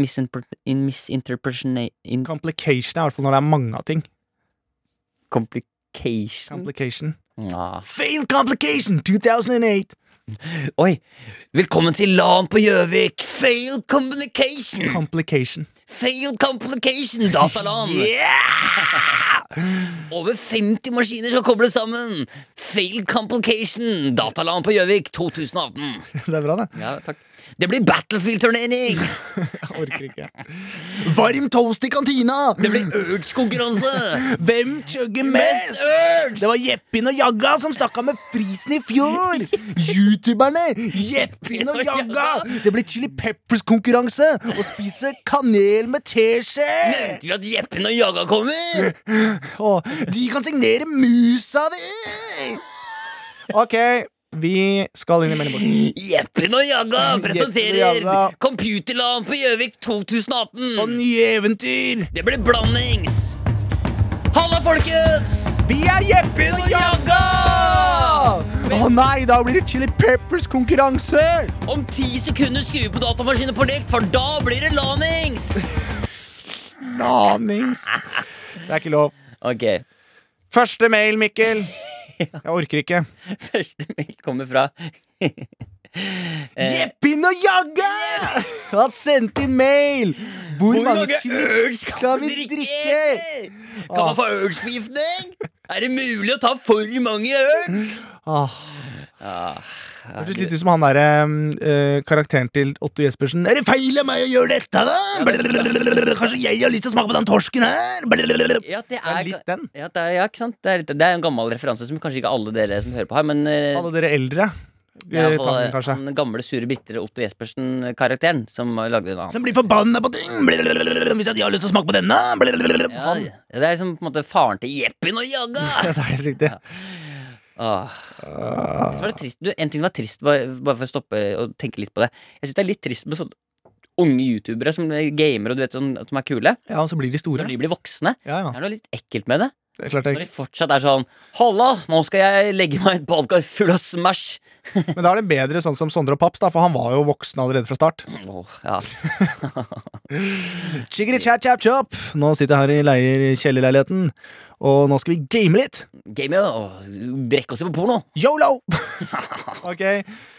Misinterpretation Complication er i hvert fall når det er mange av ting. Mm. Complication Complication. Ah. Fail complication 2008! Oi! Velkommen til LAN på Gjøvik! Failed communication! Complication. Failed complication, datalan! Over 50 maskiner skal kobles sammen! Failed complication, datalan på Gjøvik 2018. Det er bra, det. Ja, takk. Det blir Battlefield-turnering! Jeg orker ikke. Varm toast i kantina! Det blir Urge-konkurranse! Hvem chugger Mest Urge! Det var Jeppin og Jagga som snakka med prisen i fjor! Youtuberne Jeppin og Jagga! Det blir Chili Peppers-konkurranse! Å spise kanel med teskje! Venter vi at Jeppen og Jaga kommer? Og de kan signere musa di! Ok, vi skal inn i meldingboksen. Jeppen og Jaga presenterer Jeppen og Jaga. Computerlan på Gjøvik 2018! nye eventyr! Det blir blandings! Halla, folkens! Vi er Jeppin og Jagga! Å nei, da blir det Chili Peppers-konkurranse! Om ti sekunder skrur på datamaskinen på likt, for da blir det lanings! Nanings. Det er ikke lov. Ok, Første mail, Mikkel. Jeg orker ikke. første mail kommer fra Eh, Jeppin og Jagga har sendt inn mail! Hvor, skal vi drikke? Kan man få urge-forgiftning? Er det mulig å ta for mange urge? Ah. Hørtes litt ut som han derre eh, karakteren til Otto Jespersen. Er det feil av meg å gjøre dette, da? Blablabla. Kanskje jeg har lyst til å smake på den torsken her? Blablabla. Ja, det Det er er litt den. Ja, det er, ja ikke sant? Det er, litt, det er en gammel referanse som kanskje ikke alle dere som hører på har, men eh, Alle dere eldre. det er i eh, hvert fall, tar eh, den kanskje. den gamle, sure, bitre Otto Jespersen-karakteren som lagde den. Som blir forbanna på ting! Blablabla. Hvis jeg har lyst til å smake på denne? Blablabla. Ja, Han. det er liksom på en måte faren til Jeppin og Jagga! Det er helt riktig. Åh. Jeg synes det var litt trist. Du, en ting som er trist, bare, bare for å stoppe og tenke litt på det Jeg syns det er litt trist med sånne unge youtubere som gamer og du vet sånn, som er kule. Ja, og så blir de store. Når de blir voksne. Det Ja, ja. er noe litt ekkelt med det. Det er klart Når jeg, de fortsatt er sånn Halla, nå skal jeg legge meg i et badekar full av Smash. men da er det bedre sånn som Sondre og Paps, da, for han var jo voksen allerede fra start. Åh, ja. Chiggeri chap chap chop Nå sitter jeg her i leier i kjellerleiligheten, og nå skal vi game litt. Game, ja. og Brekke oss i på porno. Yolo! ok,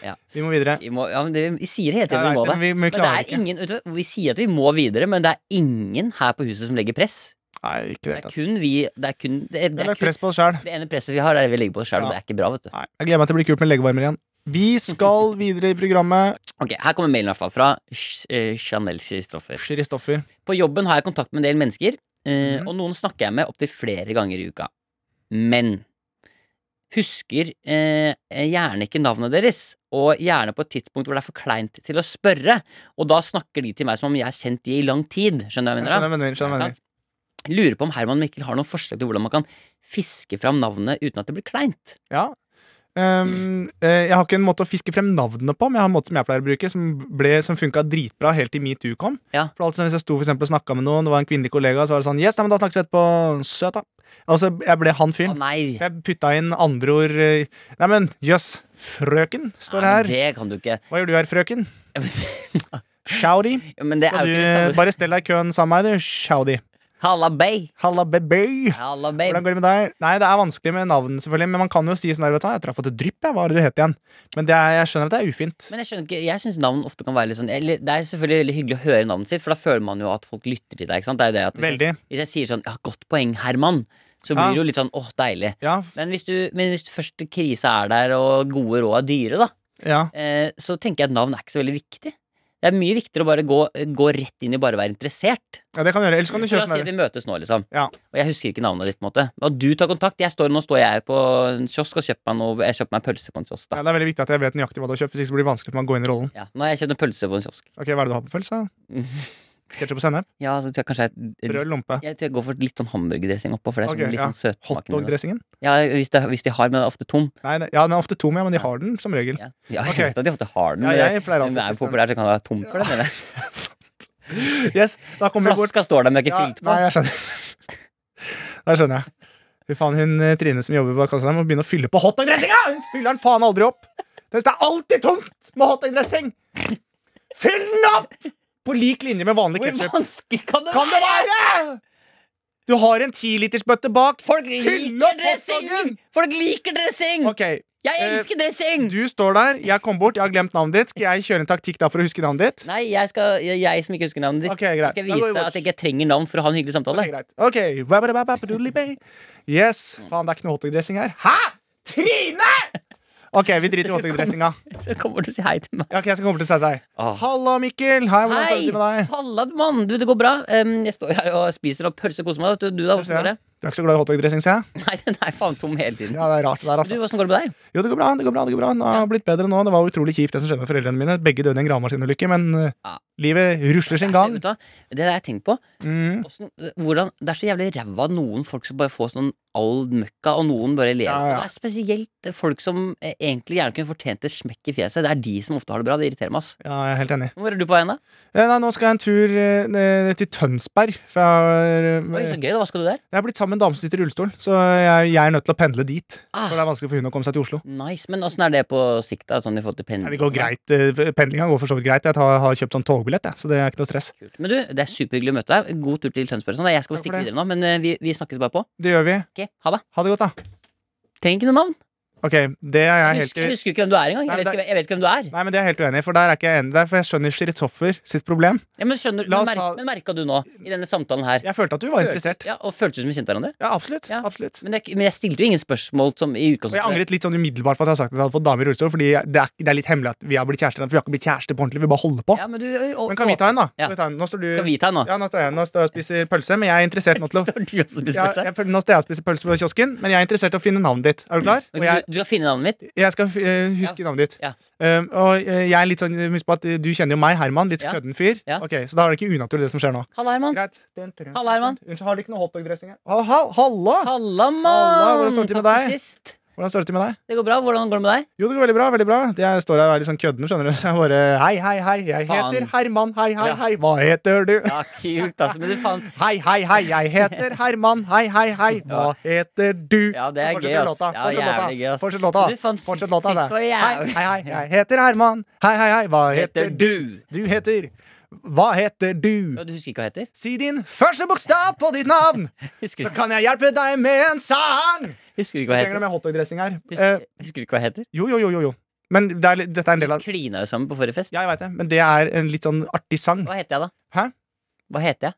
Ja. vi må videre. Vi, må, ja, men det, vi sier det hele tiden vi Jeg må det. vet det, men vi- vi Men det klarer er ikke. ingen, vet du, hva, vi sier at vi må videre, men det er ingen her på huset som legger press. Nei, Det ikke det er hele tatt. kun vi Det er kun det, Vi det, har er lagt kun, press på oss sjæl. det ene presset vi har, er det vi legger på oss sjøl, og Ja. det er ikke bra. vet du Jeg gleder meg til det blir kult med leggevarmer igjen. Vi skal videre i programmet. Ok, Her kommer mailen i hvert fall fra Ch- eh, Chanel Kristoffer. Kristoffer. På jobben har jeg kontakt med en del mennesker, eh, og noen snakker jeg med opptil flere ganger i uka. Men husker eh, gjerne ikke navnet deres, og gjerne på et tidspunkt hvor det er for kleint til å spørre, og da snakker de til meg som om jeg har kjent de i lang tid. Skjønner du hva jeg mener? da? Skjønner venner. Ja, Skjønner venner. sant? Lurer på om Herman Mikkel har noen forslag til hvordan man kan fiske fram navnet uten at det blir kleint. Ja. Ehm, eh, jeg har ikke en måte å fiske frem navnene på, men jeg har en måte som jeg pleier å bruke, som, ble, som funka dritbra helt til metoo kom. Ja. For alt sånn, Hvis jeg sto for eksempel, og snakka med noen, det var en kvinnelig kollega, så var det sånn Yes, nei, men da snakkes vi etterpå. Søt, da. Altså, jeg ble han Å fyren. nei! Jeg putta inn andre ord. eh, Nei, men jøss, frøken Nei, står men her. Det kan du ikke. Hva gjør du her, frøken? Showdy. Men det er jo Skal du ikke det samme. bare stell deg i køen sammen med meg, du? Showdy. Halla, bay! Halla, baby. Halla, Hvordan babe. går det med deg? Nei, det er vanskelig med navn, selvfølgelig. Men man kan jo si sånn her, vet du hva, jeg traff et drypp, jeg. Hva er det du het igjen? Men det er, jeg skjønner at det er ufint. Men jeg skjønner ikke, jeg syns navn ofte kan være litt sånn eller, Det er selvfølgelig veldig hyggelig å høre navnet sitt, for da føler man jo at folk lytter til deg. ikke sant? Det er jo det at hvis, jeg, Veldig. hvis jeg sier sånn ja, 'Godt poeng, Herman', så blir Ja. det jo litt sånn 'åh, deilig'. Ja, Men hvis, du, men hvis du først krisa er der, og gode råd er dyre, da, ja. eh, så tenker jeg at navn er ikke så veldig viktig. Det er mye viktigere å bare gå, gå rett inn i bare å være interessert. ja det kan du gjøre. Ellers kan du Så la kjøpe oss si den der. vi møtes nå, liksom. Ja. Og jeg husker ikke navnet ditt. på en måte Og du tar kontakt. Jeg står, nå står jeg på en kiosk og kjøper meg noe Jeg kjøper meg en pølse på en kiosk. da Ja, det er veldig viktig at jeg vet nøyaktig hva du har kjøpt, hvis ikke så blir det vanskelig for meg å gå inn i rollen. ja, Nå har jeg kjøpt en pølse på en kiosk. Ok, Hva er det du har på pølsa? Ketchup og sennep? Ja, så tror jeg kanskje jeg, Brød eller lompe? jeg, tror jeg går for litt sånn hamburgerdressing oppå. For det er Ok, sånn, litt ja. sånn søtsmaken i det. Hotdog-dressingen? Ja, hvis, det, hvis de har, men det er ofte tom. Nei, nei, ja, den er ofte tom, ja, men de har den som regel. Ja, ja Ok. jeg vet at de ofte har den, Ja, men jeg pleier men det er alltid jo populært, så kan det være tom for det. mener jeg. Yes, da kommer vi bort. Flaska står der, men det er ikke Ja, fylt på. nei, jeg skjønner. Da skjønner jeg. Fy faen, hun eh, Trine som jobber bak kassa der, må begynne å fylle på hotdog-dressinga! Hun fyller den faen aldri opp. Det er alltid tomt med hotdog-dressing! Fyll den opp! På lik linje med vanlig Hvor ketsjup. vanskelig kan det Kan det være?! Du har en tilitersbøtte bak. Folk Fyll opp liker dressing! hotdoggen! Folk liker dressing! Ok, Jeg eh, elsker dressing! Du står der, jeg kom bort, jeg har glemt navnet ditt. Skal jeg kjøre en taktikk da for å huske navnet ditt? Nei, jeg, skal, jeg, jeg som ikke husker navnet ditt, Ok, greit. skal Da går vi vise bort. at jeg ikke trenger navn for å ha en hyggelig Det samtale. er greit. Ok. wabba-dabba-dabba-doodly-bay. Yes. Faen, det er ikke noe hotdog-dressing her. Hæ?! Trine! Ok, vi driter i hotdog-dressinga. Så kommer du og sier hei til meg. Ja, ok, jeg skal komme til å si deg. Halla, Mikkel. Hei, hvordan Ah. Hei! står det til med deg? Halla, mann! Du, det går bra. Em, jeg står her og spiser og pølse og koser meg. Du, du da, Ser hvordan går det? jeg. Du er ikke så glad i hotdog-dressing, ser jeg? Nei, den er faen tom hele tiden. Ja, det er rart det Du, der, altså. hvordan går det med deg? Jo, det går bra. det går bra, det går bra. Nå har jeg blitt bedre nå. Det var utrolig kjipt, det som skjedde med foreldrene mine. Begge døde i en gravemaskinulykke, men eh, Ja. livet rusler sin Jeg ser gang. ut av- Det har jeg tenkt på. Mm. Hvordan, hvordan, det er så jævlig ræva noen folk som bare får sånn old møkka, og noen bare lever. Ja, ja. Og det er spesielt folk som eh, egentlig gjerne kunne fortjent et smekk i fjeset. Det er de som ofte har det bra. Det irriterer meg. ass Ja, jeg er helt enig. Hvor er du på veien, da? Eh, Nei, nå skal jeg en tur eh, ned til Tønsberg. For jeg, har, Oi, eh, så gøy. da. Hva skal du der? jeg har blitt sammen med en dame som sitter i rullestol, så jeg, jeg er nødt til å pendle dit. Ah. For det er vanskelig for hun å komme seg til Oslo. Nice, Men åssen er det på sikt? da, sånn i forhold til pendling? Nei, det går greit. eh, Pendlinga går for så vidt greit. Jeg tar, har kjøpt sånn togbillett, jeg, så det er ikke noe stress. Kult. Men du, Det er superhyggelig å møte deg. God tur til Tønsberg. og Sånn. Jeg skal bare Takk for stikke det. videre nå, men eh, vi, vi snakkes bare på. Det gjør vi. Ok, Ha det. Ha det godt, da. Trenger ikke noe navn. Ok, det er jeg Jeg helt husker, jeg husker jo ikke hvem du er engang. Nei, Jeg, men vet det- ikke- jeg vet ikke hvem du er. Nei, men det er jeg helt uenig i, for der er ikke jeg enig der, for jeg skjønner Shiritoffer sitt problem. Ja, men skjønner, La men, oss merk, ta- men merka du nå, i denne samtalen her Jeg følte at du var Følte- interessert. Ja, Og føltes ut som vi kjente hverandre? Ja, absolutt. Ja. absolutt. Men, det, er ikke- men jeg stilte jo ingen spørsmål som i Og jeg utgangspunktet. angret litt sånn umiddelbart for at jeg har sagt at jeg hadde fått dame i rullestol, fordi jeg- det er, det er litt hemmelig at vi har blitt kjærester, for vi har ikke blitt kjærester på ordentlig, vi bare holder på. Ja, men du, ø- å, Men kan vi ta en, da? Ja. Skal vi ta en? Nå står du Skal vi ta en nå? Ja, nå står jeg nå står jeg og spiser pølse, men jeg er interessert nå til å Står du og spiser ja, pølse? jeg, Nå står jeg og spiser pølse på kiosken, men jeg er interessert i å finne navnet ditt. Er du klar? Ok, Og jeg, Du, du skal finne navnet mitt. Jeg skal eh, huske navnet ditt. Ja. Um, og eh, jeg er litt sånn Husk på at eh, du kjenner jo meg, Herman. Litt Ja. kødden fyr. Ja. Ok, Så da er det ikke unaturlig, det som skjer nå. Halla, Herman. Greit. Den tre- Halla, Herman. Unnskyld, har du ikke noe hotdog-dressing her? Ha, ha, halla! Halla, Halla, mann! hvordan Takk står det til med for deg? sist. Hvordan står det til med deg? Det går bra. Hvordan går det med deg? Jo, det går veldig bra. veldig bra Det Jeg står her og er litt sånn kødden, skjønner du. Så jeg bare Hei, hei, hei. Jeg Faen. heter Herman. Hei, hei, Ja. hei. Hva heter du? Ja, kult, altså. Men du faen Hei, hei, hei. Jeg heter Herman. Hei, hei, hei. Hva heter du? Ja, det er gøy, Så fortsetter ass. låta, Ja, fortsetter låta. jævlig gøy, ass. Fortsett låta. Du fant Fortsett låta. sist det. var jævlig. Hei, hei, hei. Jeg heter Herman. Hei, hei, hei. Hva heter heter du? du? Du heter Hva heter Ja, du? Du husker ikke hva jeg heter? Si din første bokstav på ditt navn, Husker, så kan jeg hjelpe deg med en sang. husker du ikke hva jeg heter? Trenger du mer hotdog-dressing her? Eh, Husker, husker du ikke hva jeg heter? jo, jo, jo, jo, jo. Men det er, litt- dette er en del av Vi klina jo sammen på forrige fest. Ja, jeg vet det, men det er en litt sånn artig sang. Hva heter jeg, da? Hæ? Hva heter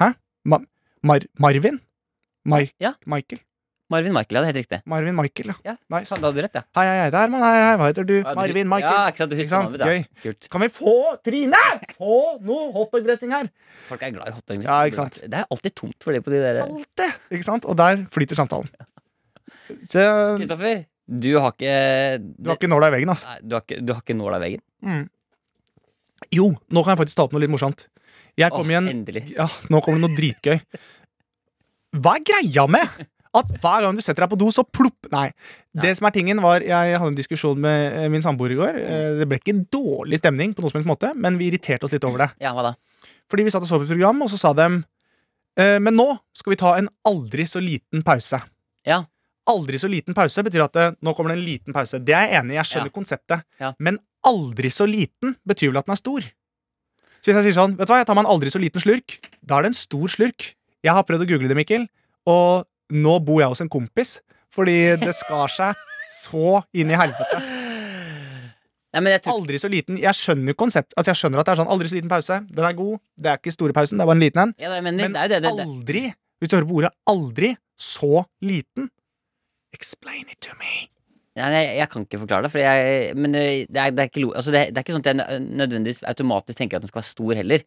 jeg? Ma Mar Marvin? Mar Ja. Michael? Marvin Michael, ja. Det er helt riktig. Marvin Michael, ja. Ja, Nice. faen, Da hadde du rett, ja. Hei, hei, hei, det er Herman. Hei, hei, hva heter du? Ja, du- Marvin Ja, Michael. ikke sant, du Ikke husker sant? navnet, da. Gøy. Kult. Kan vi få, Trine, få noe hotdog-dressing her? Folk er glad i hotdog. Ja, ikke sant. Det er alltid tomt for det på de der Alt det! Ikke sant? Og der flyter samtalen. Så du Kristoffer, du har ikke har ikke nåla i veggen, altså. Nei, du har ikke, du har ikke nåla i veggen? Jo, nå kan jeg faktisk ta opp noe litt morsomt. Jeg kom Åh, i en endelig. Ja, nå kommer det noe dritgøy. Hva er greia med at hver gang du setter deg på do, så plopp Nei. Det som er tingen var Jeg hadde en diskusjon med eh, min samboer i går. Mm. Eh, Det ble ikke dårlig stemning, på noen som helst måte men vi irriterte oss litt over det. Ja, hva da? Fordi vi satt og så på et program, og så sa dem eh, Men nå skal vi ta en aldri så liten pause. Ja. Aldri så liten pause betyr at eh, nå kommer det en liten pause. Det er jeg enig i. Jeg skjønner konseptet. Ja. Men aldri så liten betyr vel at den er stor. Så hvis jeg sier sånn, vet du hva, jeg tar meg en aldri så liten slurk, da er det en stor slurk. Jeg har prøvd å google det, Mikkel, og nå bor jeg hos en kompis, fordi det skar seg så inn i helvete. Nei, men jeg tror Aldri så liten. Jeg skjønner jo konsept. Altså, jeg skjønner at det er sånn aldri så liten pause. Den er god. Det er ikke store pausen, det er bare en liten en. ja, det er jeg mener, Men det er jo det, det, det. aldri, hvis du hører på ordet aldri, så liten. Explain it to me. Nei, nei, jeg kan ikke forklare det. For jeg, men det er, det, er ikke, lo- altså det, det er ikke sånn at jeg nø- nødvendigvis automatisk tenker at den skal være stor heller.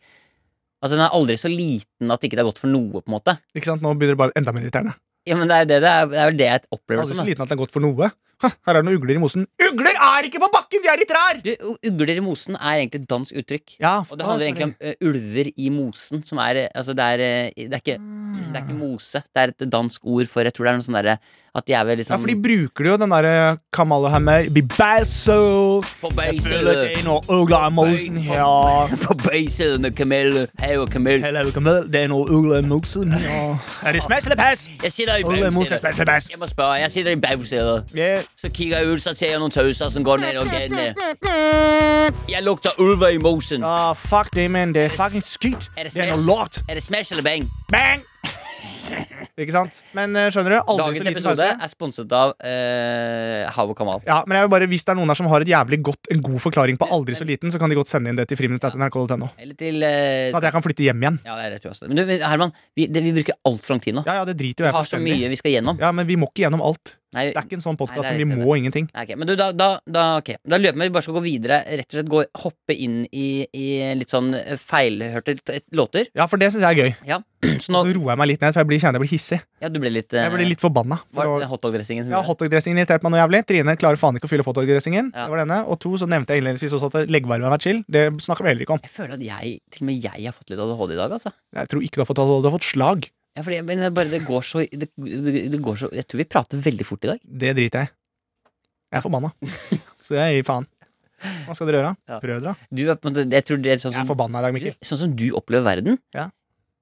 Altså Den er aldri så liten at ikke det er godt for noe. på en måte Ikke sant? Nå begynner det bare enda mer irriterende. Ja, men Det er, det, det er, det er vel det jeg opplever det sånn, som. Aldri så da. liten at den er godt for noe. Ha, Her er det noen ugler i mosen. Ugler er ikke på bakken, de er i trær! Du, u- Ugler i mosen er egentlig et dansk uttrykk. Ja, Og det handler egentlig om eh, ulver i mosen, som er eh, Altså, det er, eh, det er ikke Det er ikke Mm. mose. Det er et dansk ord for Jeg tror det er noe sånn derre At de er vel Ja, liksom for de bruker jo den derre Kamal Hammer Be basso På Jeg føler det er noen ugler i mosen her. På beiset med kamel. Hei og kamel. Hello, Kamal. Det er noen ugler i mosen her. Er det smash eller pass? Jeg sitter i Ugler i mosen beiset. er smash eller pass. Jeg må spørre, jeg sitter i bagsædet. Yeah. Så kigger jeg ut, så ser jeg noen tauser som går ned og gatene. Jeg lukter ulver i mosen. Ah, fuck det, men det er fucking skitt. Er det Det er smash? noe lort. Er det smash eller bang? Bang! Ikke sant? Men eh, skjønner du? Aldri Dagens så liten episode pause. er sponset av eh, Hav og Kamal. Ja, men jeg vil bare, Hvis det er noen her som har et jævlig godt, en god forklaring på aldri så liten, så kan de godt sende inn det til friminutt.nrk.no. Eller til eh, Sånn at jeg kan flytte hjem igjen. Ja, det er rett uansett. Men du, Herman, vi, det, vi bruker altfor lang tid nå. Ja, ja, det driter jo Vi jeg har så fullstendig i. mye vi skal gjennom. Ja, men vi må ikke gjennom alt. Nei, Det er ikke en sånn podkast Nei, som det er vi riktig, må ingenting. Nei, ok, men du, da, da, da, ok. da løper vi. Vi bare skal gå videre. Rett og slett gå, hoppe inn i, i litt sånn feilhørte t- låter. Ja, for det syns jeg er gøy. Ja. Så nå Så roer jeg meg litt ned, for jeg blir, kjenner jeg blir hissig. Ja, du ble litt eh, Altså, Jeg blir litt forbanna. Var det For nå- hotdog-dressingen som ja, gjorde det? Hotdog-dressingen irriterte meg noe jævlig. Trine klarer faen ikke å fylle opp hotdog-dressingen. Ja. Det var denne. Og to, så nevnte jeg innledningsvis også at leggvarmen har vært chill. Det snakker vi heller ikke om. Jeg føler at jeg, til og med jeg har fått litt ADHD i dag, altså. Jeg tror ikke du har fått, du har fått slag. Ja, fordi, men det, er bare, det, går så, det, det, det går så Jeg tror vi prater veldig fort i dag. Det driter jeg i. Jeg er forbanna. Så jeg gir faen. Hva skal dere gjøre? Ja. Prøv dere, da. Du, er på en måte, jeg tror det er sånn Jeg er som, forbanna i dag, du, Mikkel. sånn som du opplever verden. Ja.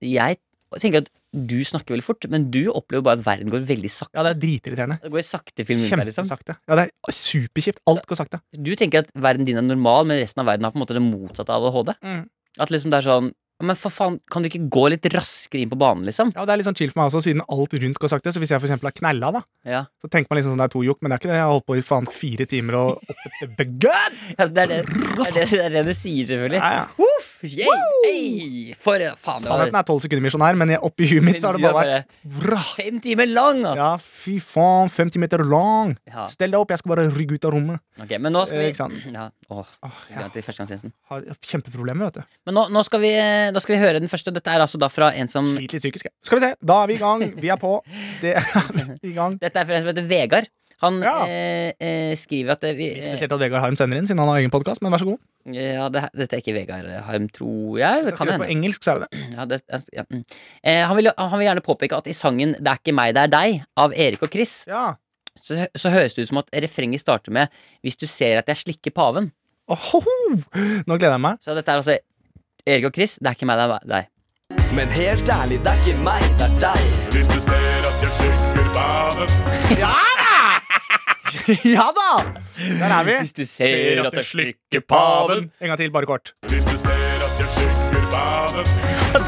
Jeg tenker at du snakker veldig fort, men du opplever bare at verden går veldig sakte. Ja, det er dritirriterende. Det går i sakte film rundt deg, liksom. Kjempesakte. Ja, det er superkjipt. Alt går sakte. Du tenker at verden din er normal, men resten av verden har på en måte det motsatte av ADHD. Mm. At liksom det er sånn «Ja, Men for faen, kan du ikke gå litt raskere inn på banen, liksom? Ja, og det er litt sånn chill for meg også, siden alt rundt går sakte. Så hvis jeg for eksempel har knella, da, Ja. så tenker man liksom sånn det er to jokk, men det er ikke det. Jeg har holdt på i faen fire timer og opp etter begønn! Altså, det, er det, det, er det, det er det du sier, selvfølgelig. Ja, ja. Uff, yay, ey, for faen, det Sannheten var er tolv sekunder misjonær, men jeg- oppi huet mitt så har det Men du bare er vært Vrah. fem timer lang, altså. Ja, fy faen. 50 meter lang. Ja. Stell deg opp, jeg skal bare rygge ut av rommet. Ok, men nå skal vi Eh, ikke sant. ja. Åh, Åh, jeg jeg glemte førstegangstjenesten. har kjempeproblemer, vet du. Men nå, nå, skal vi, eh, nå skal vi høre den første. Dette er altså da fra en som Sliter litt psykisk, jeg. Skal vi se. Da er vi i gang. Vi er på. Det er i gang. Dette er fra en som heter Vegard. Han Ja. eh, eh, skriver at eh, vi eh, Spesielt at Vegard Harm sender inn, siden han har egen podkast. Men vær så god. Ja, det, dette er ikke Vegard eh, Harm, tror jeg. Det Hvis jeg kan skriver hende. på engelsk, så er det det. Ja, det, altså, ja. mm. eh, han, vil, jo- han vil gjerne påpeke at i sangen 'Det er ikke meg, det er deg' av Erik og Chris, Ja. så, så høres det ut som at refrenget starter med 'Hvis du ser at jeg slikker paven'. Ohoho! Nå gleder jeg meg. Så dette er altså Erik og Chris. Det er ikke meg, det er deg. Men helt ærlig, det er ikke meg, det er deg. Hvis du ser at jeg sjekker badet Ja da! ja da! Der er vi. Hvis du ser at jeg slikker paven. En gang til, bare kort. Hvis du ser at jeg sjekker badet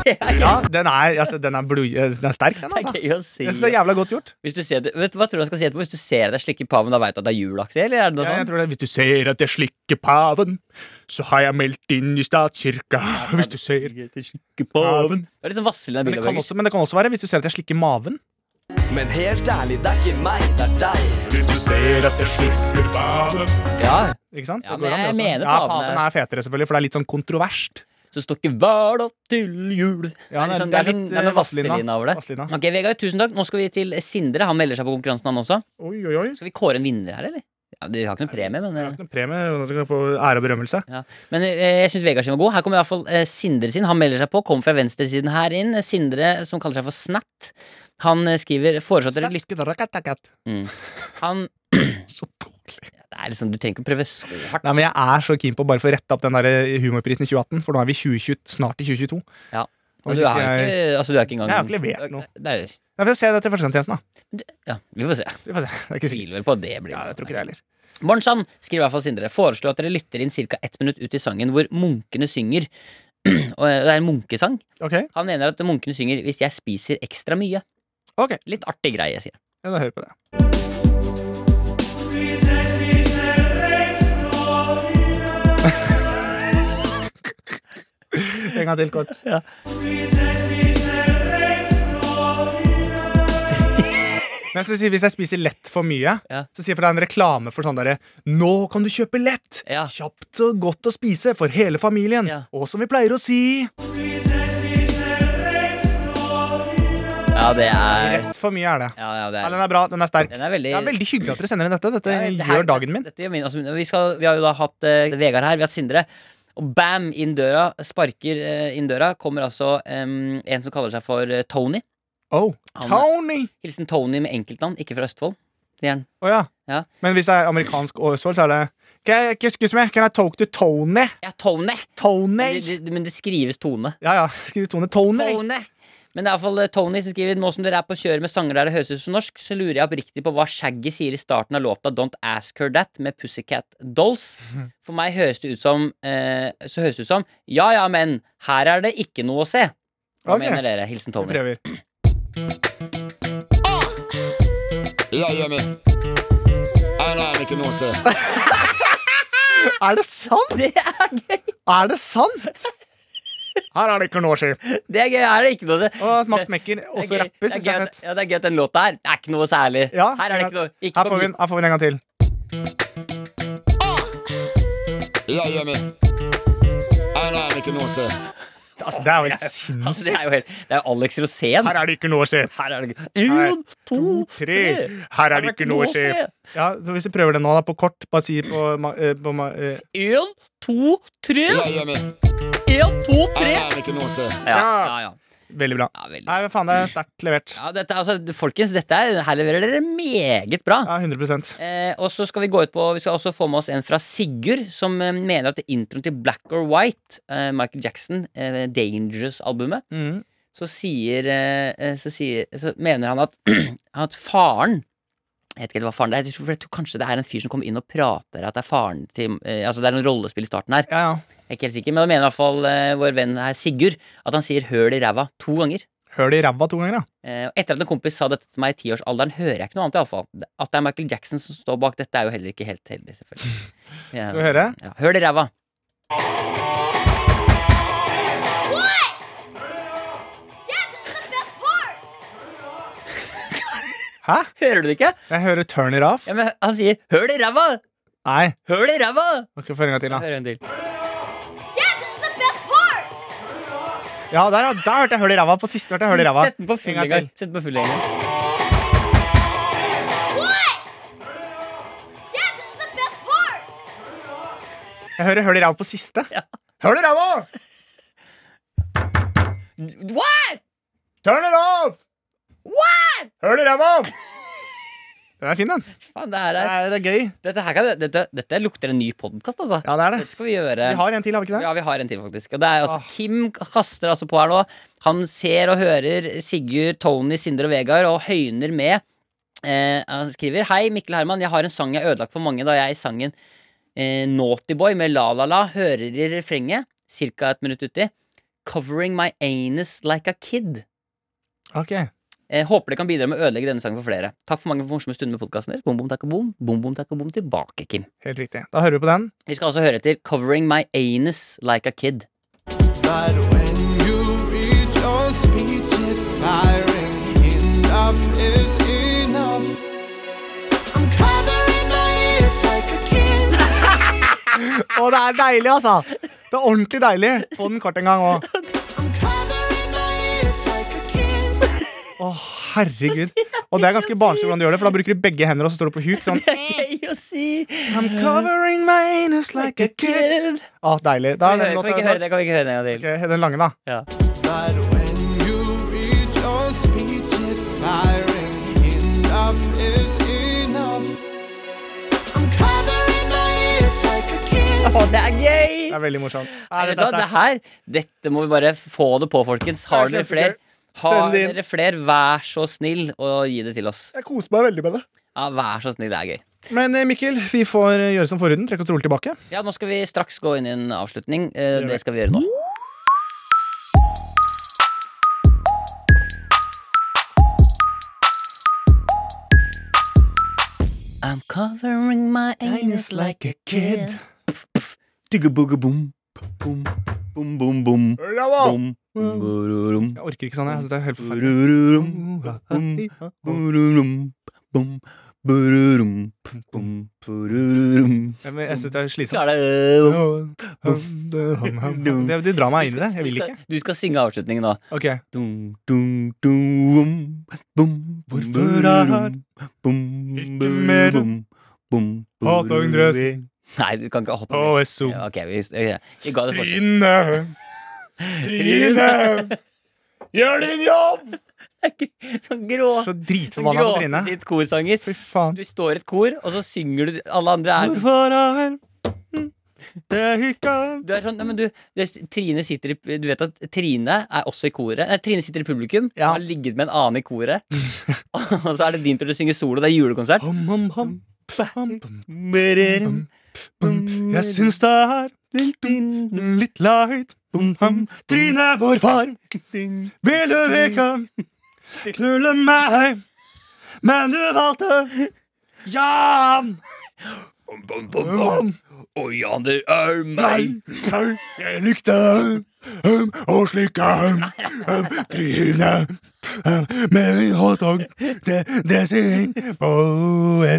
Det er Ja, den er, altså, den er, blod, den er sterk, den, det er altså. gøy å si. Jeg synes det er jævla godt gjort. Hvis du ser, vet du hva tror du han skal si etterpå? Hvis du ser at jeg slikker paven, da veit du at det er julaktig? Eller er det noe Ja, jeg sånt? tror det. Hvis du ser at jeg slikker paven, så har jeg meldt inn i statskirka. Hvis du ser paven Det er litt sånn Vazelina men det, kan Bilderbergers. også, men det kan også være hvis du ser at jeg slikker maven. Men helt ærlig, det er ikke meg, det er deg. Hvis du ser at jeg slikker badet Ja. Ikke sant? Ja, Det går men an, det jeg også. mener ja, paven paven er- er fetere, selvfølgelig, for det er litt sånn kontroverst. Så står ikke hvala til jul. Ja, det er, liksom, det er- det er, det er sånn- litt, det er noe eh, Vazelina. Vazelina over det. Vazelina. Ok, Vegard, tusen takk. Nå skal vi til Sindre. Han melder seg på konkurransen, han også. Oi, oi, oi. Skal vi kåre en vinner her, eller? Ja, Du har ikke noen premie, men Det er eh, ikke noen premie. og Dere kan få ære og berømmelse. ja. Men eh, jeg syns Vegard sin var god. Her kommer i hvert fall eh, Sindre sin. Han melder seg på. Kom fra venstresiden her inn. Sindre, som kaller seg for Snatt, han eh, skriver Foreslår at dere lytter Nei, Han Det er liksom, Du trenger ikke prøve så hardt. men Jeg er så keen på å bare få retta opp den der eh, humorprisen i 2018, for nå er vi 2020, snart i 2022. Ja. Og Men hvis Altså, du er jo ikke jeg- ikke, altså, du er ikke engang Jeg har ikke levert noe. Det er jo- Nei, Vi får se det til førstegangstjenesten, da. Ja, vi får se. Vi får se. Det er ikke Jeg sikkert. tviler vel på at det blir Ja, jeg tror ikke det heller. Morgensann, skriver i hvert fall Sindre, foreslår at dere lytter inn ca. ett minutt ut i sangen hvor munkene synger. Og eh, det er en munkesang. Ok, Han mener at munkene synger 'Hvis jeg spiser ekstra mye'. ok. Litt artig greie, sier han. Ja, da hører vi på det. En gang til, kort. Men jeg skal si, Hvis jeg spiser lett for mye, Ja. så sier jeg for det er en reklame for sånn derre Nå kan du kjøpe lett! Ja. Kjapt og godt å spise for hele familien. Ja. Og som vi pleier å si Ja, det er Lett for mye er det. Ja, ja, det Ja, er den er bra. Den er sterk. Den er veldig- Det er veldig hyggelig at dere sender inn dette. Dette Ja, det her- gjør dagen min. Dette gjør min. Altså, vi, skal, vi har jo da hatt eh, Vegard her, vi har hatt Sindre. Og bam, inn døra, sparker eh, inn døra, kommer altså em, en som kaller seg for eh, Tony. Oh, Han- Tony! Hilsen Tony med enkeltnavn, ikke fra Østfold. Sier han. Å ja. Ja. Men hvis det er amerikansk og Østfold, så er det Can I, excuse me, can I talk to Tony? Ja, Tony! Men Tony! det, det, men det skrives Tone. Ja, ja. Skriv Tony. Tony. Tone! Men det er i hvert fall eh, Tony som skriver Nå som dere er på kjøret med sanger der det høres ut som norsk, så lurer jeg oppriktig på hva Shaggy sier i starten av låta Don't Ask Her That med Pussycat Dolls. For meg høres det ut som eh, Så høres det ut som Ja ja, men her er det ikke noe å se. Hva Ok. mener dere? Hilsen Vi Tony. prøver. Jeg er enig. Nei, nei, det er ikke noe å se. Er det sant?! Det er gøy! Er det sant?! Her er det ikke noe å si. Det er gøy, er det ikke noe å se. Og at Max Mekker Det er også gøy. rapper, Det er syns gøy jeg er at- fett. Ja, det er gøy at den låta her Det er ikke noe særlig. Ja, her er det ikke noe ikke her, på får vi, min- en- her får vi en en gang til. Jeg er enig. Nei, nei, det er ikke noe å se. Altså, det er jo helt sinnssykt. altså, det, er jo helt, det er jo Alex Rosén. Her er det ikke noe å se. Her er det ikke En, to, tre. Her er det ikke noe å se. Ja, så Hvis vi prøver det nå, da, på kort Bare si på, ma- eh, på ma- eh, En, to, tre. Jeg er enig. En, to, Nei, tre. nei, det er ikke noe å se. Ja, ja, ja. Veldig bra. ja veldig. Nei, men faen, det er sterkt levert. Ja, dette, er- altså, folkens, dette er, her leverer dere meget bra. Ja, 100 Eh, og så skal Vi gå ut på Vi skal også få med oss en fra Sigurd, som eh, mener at introen til Black or White, eh, Michael Jackson, eh, Dangerous-albumet, mm. så sier, eh, eh, så sier Så mener han at, at faren Jeg vet ikke helt hva faren det er. Jeg tror, jeg tror kanskje det er en fyr som kommer inn og prater at det er faren til eh, Altså det er en rollespill i starten her. Ja, ja. Jeg er ikke helt sikker, Men da mener i hvert fall eh, vår venn her Sigurd at han sier 'høl i ræva' to ganger. Hør det i ræva to ganger, da. Eh, og etter at en kompis sa dette til meg i tiårsalderen, hører jeg ikke noe annet. i alle fall At det er Michael Jackson som står bak dette, er jo heller ikke helt heldig, selvfølgelig. Ja. Skal vi høre? Ja, høl i ræva. Hæ? Hører du det ikke? Jeg hører turn it off. Ja, men Han sier 'høl i ræva'! Nei. Høl i ræva! Ok, Få en gang til, da. Hør en til. Ja, der, har- der hørte jeg høl i ræva. På siste hørte jeg høl i ræva. Sett den på full En gang gang. til. Sett den på full gang. Jeg hører høl i ræva på siste. Høl i ræva! What? Turn it off! Høl i ræva! Den er fin, den. Faen, det her Det er, er, det er gøy. dette, her kan, dette, dette lukter en ny podkast, altså. Ja, det er det. Dette skal vi gjøre. Vi har en til, har vi ikke det? Ja, vi har en til, faktisk. Og det er altså, Ah. Kim kaster altså på her nå. Han ser og hører Sigurd, Tony, Sindre og Vegard og høyner med. Eh, han skriver Hei, Mikkel Herman. Jeg har en sang jeg ødelagt for mange da jeg sangen eh, Naughty Boy med La La La hører i refrenget, ca. et minutt uti, Covering my anus like a kid. Ok. Eh, håper det kan bidra med å ødelegge denne sangen for flere. Takk for mange for morsomme stunder med podkasten deres. Bom, bom, takk og bom. Bom, bom, takk og bom tilbake, Kim. Helt riktig. Da hører vi på den. Vi skal også høre etter Covering my anus like a kid. But when you read your speech, it's tiring. Enough is enough. I'm covering my ears like a kid. Å, det er deilig, altså! Det er ordentlig deilig. Få den kort en gang òg. I'm covering my ears like a kid. Å, herregud. Og det er ganske barnslig hvordan du gjør det, for da bruker du begge hender, og så står du på huk sånn. Gøy å si. I'm covering my anus like a kid. Å, deilig. Da Kan er vi, den høre, kan vi ikke låta høre det? Kan vi ikke høre det en gang til? Ok, Den lange, da. Ja. But when you read your speech, it's tiring. Enough is enough. I'm covering my ears like a kid. Å, det er gøy! Det er veldig morsomt. Nei, Nei, vet du dette hva, er det sterkt. her, dette må vi bare få det på, folkens. Har Det er dere fler? kjempegøy. Har Send det inn. dere fler, vær så snill å gi det til oss. Jeg koser meg veldig med det. Ja, vær så snill, det er gøy. Men eh, Mikkel, vi får eh, gjøre som forhuden. Trekke oss rolig tilbake. Ja, nå skal vi straks gå inn i en avslutning. Eh, gjør vi. Det skal vi gjøre nå. I'm covering my anus like a kid. Bravo! Mm. Bom, bom, borom. Jeg orker ikke sånn, jeg. jeg. synes Det er helt forferdelig. Bururum, bururum, bum, bururum, bum, bururum. Jeg, men jeg synes det er slitsomt. Klarer det. Det, du drar meg inn i det. Jeg vil Du ikke. skal- Du skal synge avslutningen nå. Ok, Dum, dum, dum, bum, Hvorfor er bum, ikke mer bum, bum, Hatangdress. Nei, du kan ikke hoppe over. HSO. Ja, Ok, vi, ok, vi ga det forsøk. Trine! Trine! Gjør din jobb! Sånn grå Så dritforbanna på Trine. Gråte sitt korsanger. Fy faen. Du står i et kor, og så synger du Alle andre er sånn Du er sånn, nei, men du, du er- Trine sitter i Du vet at Trine er også i koret. Nei, Trine sitter i publikum Ja. og har ligget med en annen i koret. og så er det din tur til å synge solo. Det er julekonsert. Hom, hom, hom. Bam, bum, bum, bum. Jeg syns det er litt, litt leit. Bum, ham. Trine, vår far, vil du ikke knulle meg? Men du valgte Jan. Å ja, det er meg! Jeg likte um, å slikke um, um, trynet um, med hotdog-dressing på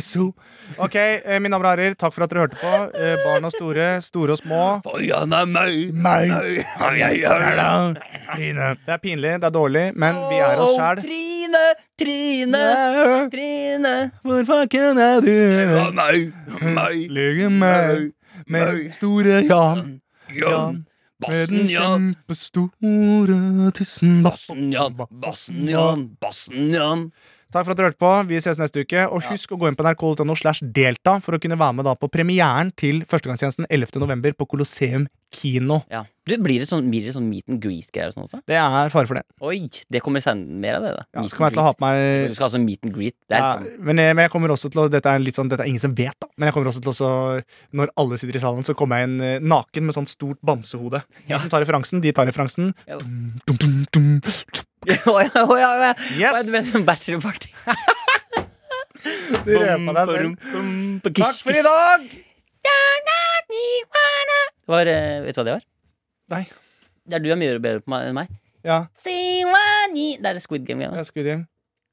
SO. Ok, eh, mine damer og herrer, takk for at dere hørte på. Eh, Barn og store, store og små. Å ja, det er meg! Meg. Å, jeg er det. Trine. Det er pinlig, det er dårlig, men vi er oss Å, sjæl. Trine, Trine, Trine. Hvorfor kunne du meg, ligge med med store Jan? Jan med den kjempestore tissen. Bassenian. Takk for at dere hørte på. Vi ses neste uke. Og husk å gå inn på nrk.no slash delta for å kunne være med da på premieren til Førstegangstjenesten 11. november på Colosseum kino. Ja. Du, blir det sånn, blir det sånn meet and greet-greier og sånn også? Det er fare for det. Oi, det kommer senere mer av det, da. Ja, Meet så kommer jeg and til å ha greet. på meg Du skal ha sånn meet and greet. Det er ja, litt sånn men, jeg, men jeg kommer også til å Dette er litt sånn Dette er ingen som vet, da. Men jeg kommer også til å så, Når alle sitter i salen, så kommer jeg inn eh, naken med sånn stort bamsehode. De som tar referansen, de tar referansen. Ja. Dum, dum, dum, dum. Å ja, å ja, å ja. Yes! Å, Du mener en bachelorparty? Du røpa deg selv. Takk for i dag! Det var, eh, vet du hva det var? Nei. Det er du er mye bedre på meg enn meg. Ja, Siwani. Det er Squid Game-greiene. jeg skulle inn.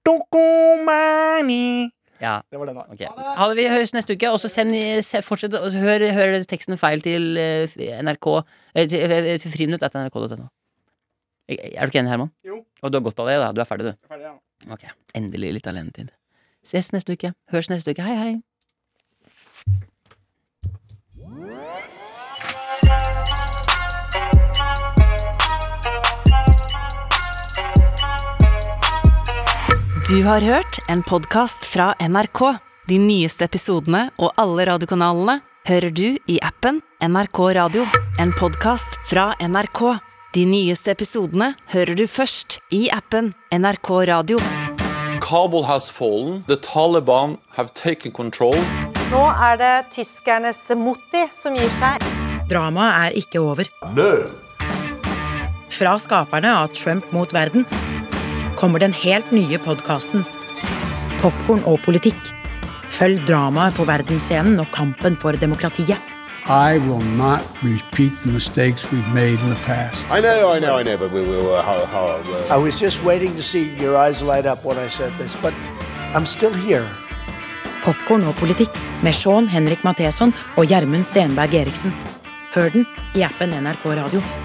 Dokumani. Ja. Det var det, da. Ok. Ha det, vi høres neste uke. Og så send, se- fortsett å hør, hør teksten feil til eh, NRK eh, Til, eh, til friminutt etter nrk.no. Er Eh, er du ikke enig, Herman? Jo. Og du har godt av det, da. Du er ferdig, du. Ferdig, ja. Ok. Endelig litt alenetid. Ses neste uke. Høres neste uke. Hei, hei. Du Du har hørt en podkast fra NRK. De nyeste episodene og alle radiokanalene hører du i appen NRK Radio. En podkast fra NRK. De nyeste episodene hører du først i appen NRK Radio. Kabul has fallen. The Taliban have taken control. Nå er det tyskernes Motti som gir seg. Dramaet er ikke over. Fra skaperne av Trump mot verden kommer den helt nye podkasten Popkorn og politikk. Følg dramaet på verdensscenen og kampen for demokratiet. I will not repeat the mistakes we've made in the past. I know, I know, I know, but we, we were how, how uh, I was just waiting to see your eyes light up when I said this, but I'm still here. Popkorn og politikk med Sean Henrik Matheson og Gjermund Stenberg Eriksen. Hør den i appen NRK Radio.